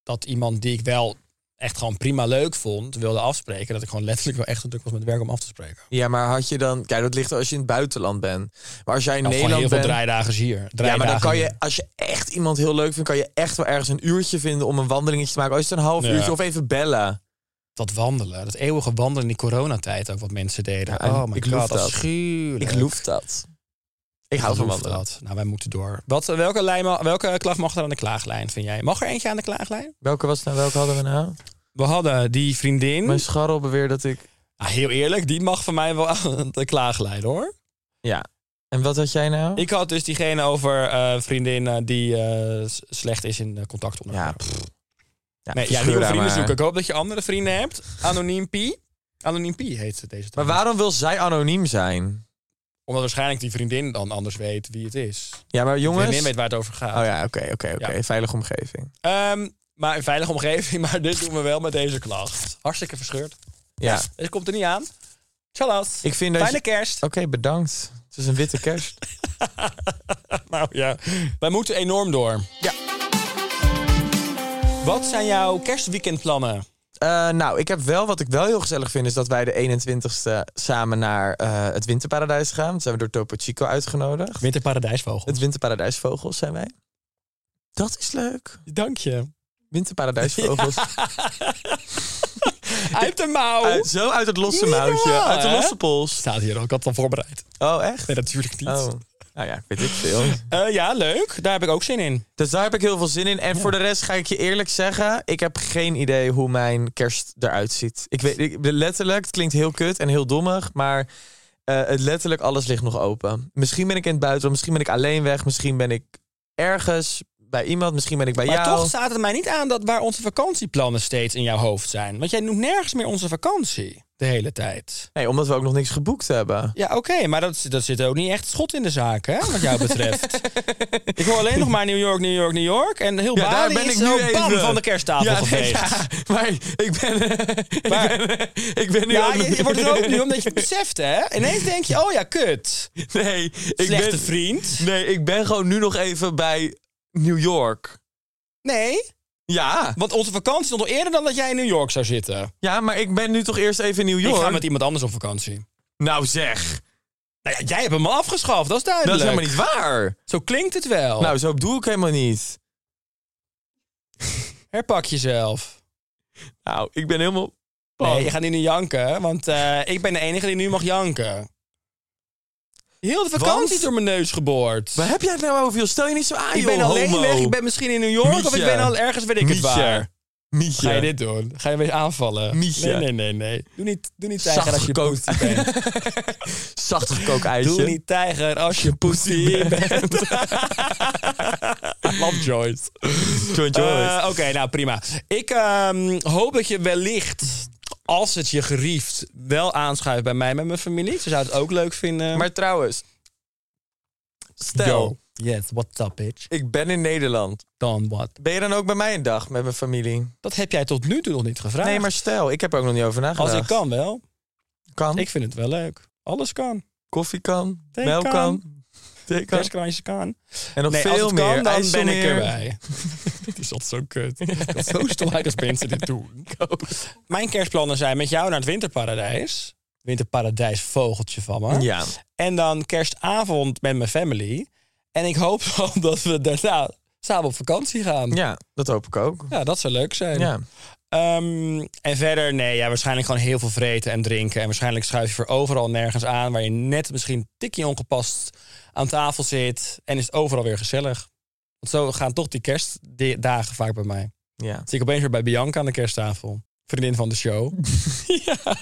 [SPEAKER 3] dat iemand die ik wel echt gewoon prima leuk vond, wilde afspreken. Dat ik gewoon letterlijk wel echt te druk was met werk om af te spreken.
[SPEAKER 1] Ja, maar had je dan... Kijk, dat ligt er als je in het buitenland bent. Maar als jij in
[SPEAKER 3] Nou, gewoon heel
[SPEAKER 1] Nederland
[SPEAKER 3] veel
[SPEAKER 1] bent...
[SPEAKER 3] draaidagen hier.
[SPEAKER 1] Ja, maar dan kan je,
[SPEAKER 3] draaidagen
[SPEAKER 1] als je echt iemand heel leuk vindt, kan je echt wel ergens een uurtje vinden om een wandelingetje te maken. Als is het een half
[SPEAKER 3] Ja.
[SPEAKER 1] uurtje of even bellen.
[SPEAKER 3] Dat wandelen, dat eeuwige wandelen in die coronatijd ook wat mensen deden.
[SPEAKER 1] Ja, en
[SPEAKER 3] oh my
[SPEAKER 1] ik
[SPEAKER 3] god,
[SPEAKER 1] loef
[SPEAKER 3] dat
[SPEAKER 1] dat.
[SPEAKER 3] is schuurlijk.
[SPEAKER 1] Ik loef dat. Ik hou van
[SPEAKER 3] loef
[SPEAKER 1] wandelen.
[SPEAKER 3] dat. Nou, wij moeten door. Wat, welke, lijn, ma- welke klacht mag er aan de klaaglijn, vind jij? Mag er eentje aan de klaaglijn?
[SPEAKER 1] Welke was het nou? Welke hadden we nou?
[SPEAKER 3] We hadden die vriendin.
[SPEAKER 1] Mijn scharrel beweert dat ik...
[SPEAKER 3] Ah, heel eerlijk, die mag van mij wel aan de klaaglijn, hoor.
[SPEAKER 1] Ja. En wat had jij nou?
[SPEAKER 3] Ik had dus diegene over eh, vriendin eh, die eh, s- slecht is in eh, contact
[SPEAKER 1] Ja,
[SPEAKER 3] onderhouden.
[SPEAKER 1] pff. ja
[SPEAKER 3] nee, ja,
[SPEAKER 1] verscheur
[SPEAKER 3] nieuwe
[SPEAKER 1] daar
[SPEAKER 3] vrienden
[SPEAKER 1] maar.
[SPEAKER 3] zoeken. Ik hoop dat je andere vrienden hebt. Anoniem Pi. Anoniem Pi heet ze deze
[SPEAKER 1] Maar
[SPEAKER 3] trouwens.
[SPEAKER 1] waarom wil zij anoniem zijn?
[SPEAKER 3] Omdat waarschijnlijk die vriendin dan anders weet wie het is.
[SPEAKER 1] Ja, maar
[SPEAKER 3] Die
[SPEAKER 1] jongens...
[SPEAKER 3] vriendin
[SPEAKER 1] Oh
[SPEAKER 3] weet waar het over gaat.
[SPEAKER 1] ja, oké, oké, oké.
[SPEAKER 3] Ja.
[SPEAKER 1] Veilige omgeving.
[SPEAKER 3] Ehm, maar een veilige omgeving. Maar dit doen we wel met deze klacht. Hartstikke verscheurd.
[SPEAKER 1] Ja.
[SPEAKER 3] Dit komt er niet aan. Tjallas.
[SPEAKER 1] Ik vind dat
[SPEAKER 3] Fijne
[SPEAKER 1] je...
[SPEAKER 3] kerst.
[SPEAKER 1] Oké, bedankt. Het is een witte kerst.
[SPEAKER 3] Nou ja, wij moeten enorm door.
[SPEAKER 1] Ja.
[SPEAKER 3] Wat zijn jouw kerstweekendplannen?
[SPEAKER 1] Eh, nou, ik heb wel wat ik wel heel gezellig vind, is dat wij de 21ste samen naar eh, het Winterparadijs gaan. Dat zijn we door Topo Chico uitgenodigd.
[SPEAKER 3] Winterparadijsvogel.
[SPEAKER 1] Het Winterparadijsvogels zijn wij. Dat is leuk.
[SPEAKER 3] Dank je.
[SPEAKER 1] Winterparadijsvogels.
[SPEAKER 3] Uit de mouw.
[SPEAKER 1] Uit- zo uit het losse
[SPEAKER 3] Niet
[SPEAKER 1] mouwtje,
[SPEAKER 3] normaal,
[SPEAKER 1] uit de
[SPEAKER 3] hè?
[SPEAKER 1] losse pols.
[SPEAKER 3] Staat hier ook, ik had het al voorbereid.
[SPEAKER 1] Oh, echt?
[SPEAKER 3] Nee, natuurlijk niet.
[SPEAKER 1] Oh. Nou ja, weet ik veel.
[SPEAKER 3] Eh, ja, leuk. Daar heb ik ook zin in.
[SPEAKER 1] Dus daar heb ik heel veel zin in. En voor de rest ga ik je eerlijk zeggen, ik heb geen idee hoe mijn kerst eruit ziet. Ik weet ik, letterlijk, het klinkt heel kut en heel dommig, maar eh, het letterlijk alles ligt nog open. Misschien ben ik in het buitenland, misschien ben ik alleen weg, misschien ben ik ergens bij iemand, misschien ben ik bij
[SPEAKER 3] Maar
[SPEAKER 1] jou.
[SPEAKER 3] toch staat het mij niet aan dat waar onze vakantieplannen steeds in jouw hoofd zijn. Want jij noemt nergens meer onze vakantie de hele tijd.
[SPEAKER 1] Nee, omdat we ook nog niks geboekt hebben.
[SPEAKER 3] Ja, oké, maar dat, dat zit ook niet echt schot in de zaak, hè, wat jou betreft. ik hoor alleen nog maar New York, New York, New York. En heel
[SPEAKER 1] Ja,
[SPEAKER 3] Bali is zo bam van de kersttafel
[SPEAKER 1] Ja, nee,
[SPEAKER 3] geveegd.
[SPEAKER 1] ja, maar ik ben,
[SPEAKER 3] Maar-
[SPEAKER 1] ik ben, ik ben nu
[SPEAKER 3] Ja,
[SPEAKER 1] ook
[SPEAKER 3] je, je wordt er ook nu omdat je het beseft, hè? Ineens denk je, oh ja, kut.
[SPEAKER 1] Nee, ik
[SPEAKER 3] Slechte
[SPEAKER 1] ben,
[SPEAKER 3] vriend.
[SPEAKER 1] Nee, ik ben gewoon nu nog even bij New York.
[SPEAKER 3] Nee,
[SPEAKER 1] Ja,
[SPEAKER 3] want onze vakantie stond al eerder dan dat jij in New York zou zitten.
[SPEAKER 1] ja maar ik ben nu toch eerst even in New York.
[SPEAKER 3] Ik ga met iemand anders op vakantie.
[SPEAKER 1] Nou zeg,
[SPEAKER 3] Nou ja, jij hebt hem al afgeschaft, dat is
[SPEAKER 1] dat
[SPEAKER 3] duidelijk.
[SPEAKER 1] is helemaal niet waar.
[SPEAKER 3] Zo klinkt het wel.
[SPEAKER 1] Nou, zo doe ik helemaal niet.
[SPEAKER 3] Herpak jezelf.
[SPEAKER 1] Nou, ik ben helemaal...
[SPEAKER 3] Nee, je gaat nu niet janken, want eh, ik ben de enige die nu mag janken. Heel de vakantie
[SPEAKER 1] Want?
[SPEAKER 3] door mijn neus geboord.
[SPEAKER 1] Waar heb jij het nou over, joh? Stel je niet zo aan,
[SPEAKER 3] ik ben
[SPEAKER 1] joh,
[SPEAKER 3] alleen
[SPEAKER 1] homo.
[SPEAKER 3] weg, ik ben misschien in New York of ik
[SPEAKER 1] Mietje.
[SPEAKER 3] ben al ergens, weet ik het
[SPEAKER 1] Mietje.
[SPEAKER 3] waar.
[SPEAKER 1] Mietje.
[SPEAKER 3] Ga je dit doen? Ga je me aanvallen?
[SPEAKER 1] Mietje.
[SPEAKER 3] Nee, nee, nee, nee. Doe niet, doe niet tijger
[SPEAKER 1] Zacht
[SPEAKER 3] als je
[SPEAKER 1] gekookt.
[SPEAKER 3] poesie bent.
[SPEAKER 1] Zacht gekookt ijsje.
[SPEAKER 3] Doe niet tijger als je poesie bent. I Love Joyce.
[SPEAKER 1] John Joyce.
[SPEAKER 3] Eh, Oké, nou prima. Ik ehm, hoop dat je wellicht, als het je gerieft, wel aanschuift bij mij met mijn familie. Ze zouden het ook leuk vinden.
[SPEAKER 1] Eh, maar trouwens, stel,
[SPEAKER 3] Yes, what's up, bitch?
[SPEAKER 1] ik ben in Nederland.
[SPEAKER 3] Dan what?
[SPEAKER 1] Ben je dan ook bij mij een dag met mijn familie?
[SPEAKER 3] Dat heb jij tot nu toe nog niet gevraagd.
[SPEAKER 1] Nee, maar stel, ik heb er ook nog niet over nagedacht.
[SPEAKER 3] als ik kan wel.
[SPEAKER 1] Kan,
[SPEAKER 3] Ik vind het wel leuk. Alles kan.
[SPEAKER 1] koffie kan,
[SPEAKER 3] Thee
[SPEAKER 1] melk
[SPEAKER 3] kan.
[SPEAKER 1] kan.
[SPEAKER 3] kerstkransje kan.
[SPEAKER 1] En nog
[SPEAKER 3] Nee,
[SPEAKER 1] veel
[SPEAKER 3] als het
[SPEAKER 1] meer.
[SPEAKER 3] kan, dan ben
[SPEAKER 1] IJsselmeer.
[SPEAKER 3] ik erbij. Dit is altijd zo kut. Ik ben zo stom als mensen dit doen. Mijn kerstplannen zijn met jou naar het winterparadijs. Winterparadijs vogeltje van me.
[SPEAKER 1] Ja.
[SPEAKER 3] En dan kerstavond met mijn family. En ik hoop dan dat we daarna samen op vakantie gaan.
[SPEAKER 1] ja, dat hoop ik ook.
[SPEAKER 3] Ja, dat zou leuk zijn.
[SPEAKER 1] Ja.
[SPEAKER 3] Ehm, en verder, nee, ja, waarschijnlijk gewoon heel veel vreten en drinken. En waarschijnlijk schuif je voor overal nergens aan... waar je net misschien een tikje ongepast aan tafel zit. En is het overal weer gezellig. Want zo gaan toch die kerstdagen vaak bij mij.
[SPEAKER 1] Ja.
[SPEAKER 3] Zit ik opeens weer bij Bianca aan de kersttafel. Vriendin van de show. ja.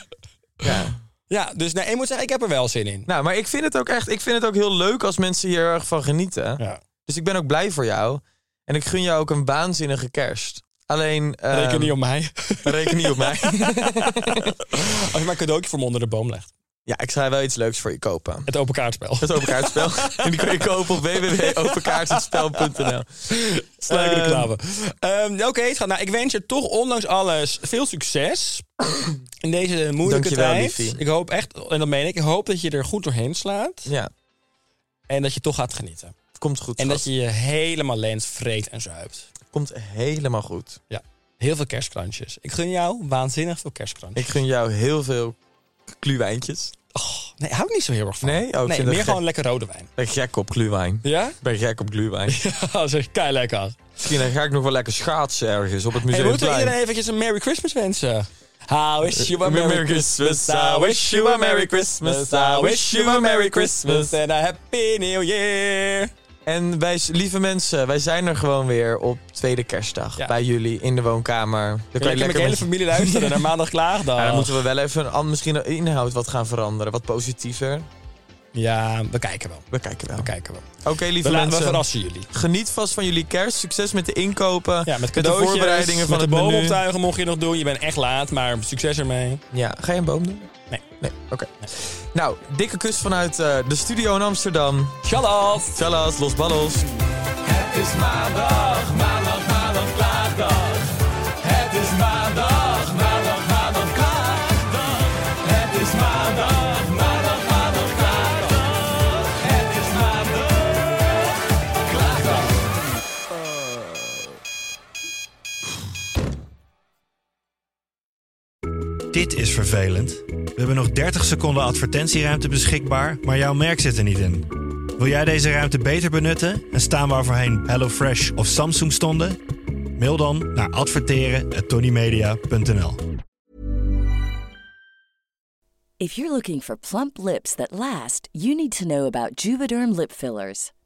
[SPEAKER 1] ja.
[SPEAKER 3] ja, dus nee, ik moet zeggen, ik heb er wel zin in.
[SPEAKER 1] Nou, maar ik vind het ook echt. Ik vind het ook heel leuk als mensen hier erg van genieten.
[SPEAKER 3] Ja.
[SPEAKER 1] Dus ik ben ook blij voor jou. En ik gun jou ook een waanzinnige kerst. Alleen. ehm,
[SPEAKER 3] Reken niet op mij.
[SPEAKER 1] reken niet op mij.
[SPEAKER 3] Als je maar een cadeautje voor me onder de boom legt.
[SPEAKER 1] ja, ik ga wel iets leuks voor je kopen.
[SPEAKER 3] Het open kaartspel.
[SPEAKER 1] Het open kaartspel. en die kun je kopen op www.openkaartspel.nl.
[SPEAKER 3] Sluit
[SPEAKER 1] Ehm,
[SPEAKER 3] reclame. Ehm, Oké, het gaat. nou, ik wens je toch ondanks alles veel succes in deze moeilijke
[SPEAKER 1] Dankjewel,
[SPEAKER 3] tijd.
[SPEAKER 1] liefie.
[SPEAKER 3] Ik hoop echt, en dat meen ik, ik hoop dat je er goed doorheen slaat
[SPEAKER 1] Ja,
[SPEAKER 3] en dat je toch gaat genieten.
[SPEAKER 1] het komt goed.
[SPEAKER 3] En dat
[SPEAKER 1] schat.
[SPEAKER 3] je je helemaal lens vreet en zuipt.
[SPEAKER 1] komt helemaal goed.
[SPEAKER 3] Ja, heel veel kerstkrantjes. Ik gun jou waanzinnig veel kerstkrantjes.
[SPEAKER 1] Ik gun jou heel veel kluwijntjes.
[SPEAKER 3] Nee, hou ik niet zo heel erg van.
[SPEAKER 1] Nee? Oh, ik vind dat
[SPEAKER 3] meer
[SPEAKER 1] gek.
[SPEAKER 3] gewoon lekker rode wijn.
[SPEAKER 1] Ik ben gek op kluwijn.
[SPEAKER 3] Ja?
[SPEAKER 1] Ik ben gek op kluwijn.
[SPEAKER 3] Ja, zeg kei lekker.
[SPEAKER 1] Misschien dan ga ik nog wel lekker schaatsen ergens op het
[SPEAKER 3] Hey, moeten we
[SPEAKER 1] museumplein.
[SPEAKER 3] iedereen eventjes een Merry Christmas wensen? I wish you a
[SPEAKER 1] Merry
[SPEAKER 3] Merry Christmas, I wish you a Merry Christmas, I wish you a Merry Christmas and a Happy New Year.
[SPEAKER 1] En wij, s- lieve mensen, wij zijn er gewoon weer op tweede kerstdag.
[SPEAKER 3] Ja.
[SPEAKER 1] Bij jullie in de woonkamer. Dan kan
[SPEAKER 3] Ik
[SPEAKER 1] je
[SPEAKER 3] heb
[SPEAKER 1] lekker
[SPEAKER 3] mijn hele
[SPEAKER 1] met-
[SPEAKER 3] familie luisteren naar maandag klaagdag.
[SPEAKER 1] Ja, dan moeten we wel even een an- misschien een inhoud wat gaan veranderen. Wat positiever.
[SPEAKER 3] Ja, we kijken wel.
[SPEAKER 1] We kijken wel.
[SPEAKER 3] We kijken wel.
[SPEAKER 1] Oké, lieve
[SPEAKER 3] We, laten, we
[SPEAKER 1] mensen.
[SPEAKER 3] verrassen jullie.
[SPEAKER 1] Geniet vast van jullie kerst. Succes met de inkopen.
[SPEAKER 3] Ja, met
[SPEAKER 1] de
[SPEAKER 3] cadeautjes,
[SPEAKER 1] voorbereidingen van
[SPEAKER 3] met
[SPEAKER 1] het
[SPEAKER 3] de boom
[SPEAKER 1] menu.
[SPEAKER 3] optuigen mocht je nog doen. Je bent echt laat, maar succes ermee.
[SPEAKER 1] Ja, ga je een boom doen?
[SPEAKER 3] Nee.
[SPEAKER 1] Nee, oké. Nou, dikke kus vanuit eh, de studio in Amsterdam.
[SPEAKER 3] Shalom!
[SPEAKER 1] Tjallas, los ballos.
[SPEAKER 6] Het is maandag, maandag, maandag, klaagdag. Het is maandag, maandag, maandag, klaagdag. Het is maandag, maandag, maandag, klaagdag. Het is maandag, klaagdag.
[SPEAKER 7] Dit is vervelend. We hebben nog 30 seconden advertentieruimte beschikbaar, maar jouw merk zit er niet in. Wil jij deze ruimte beter benutten en staan waar voorheen HelloFresh of Samsung stonden? Mail dan naar adverteren@tonymedia.nl.
[SPEAKER 8] If you're looking for plump lips that last, you need to know about Juvederm lip fillers.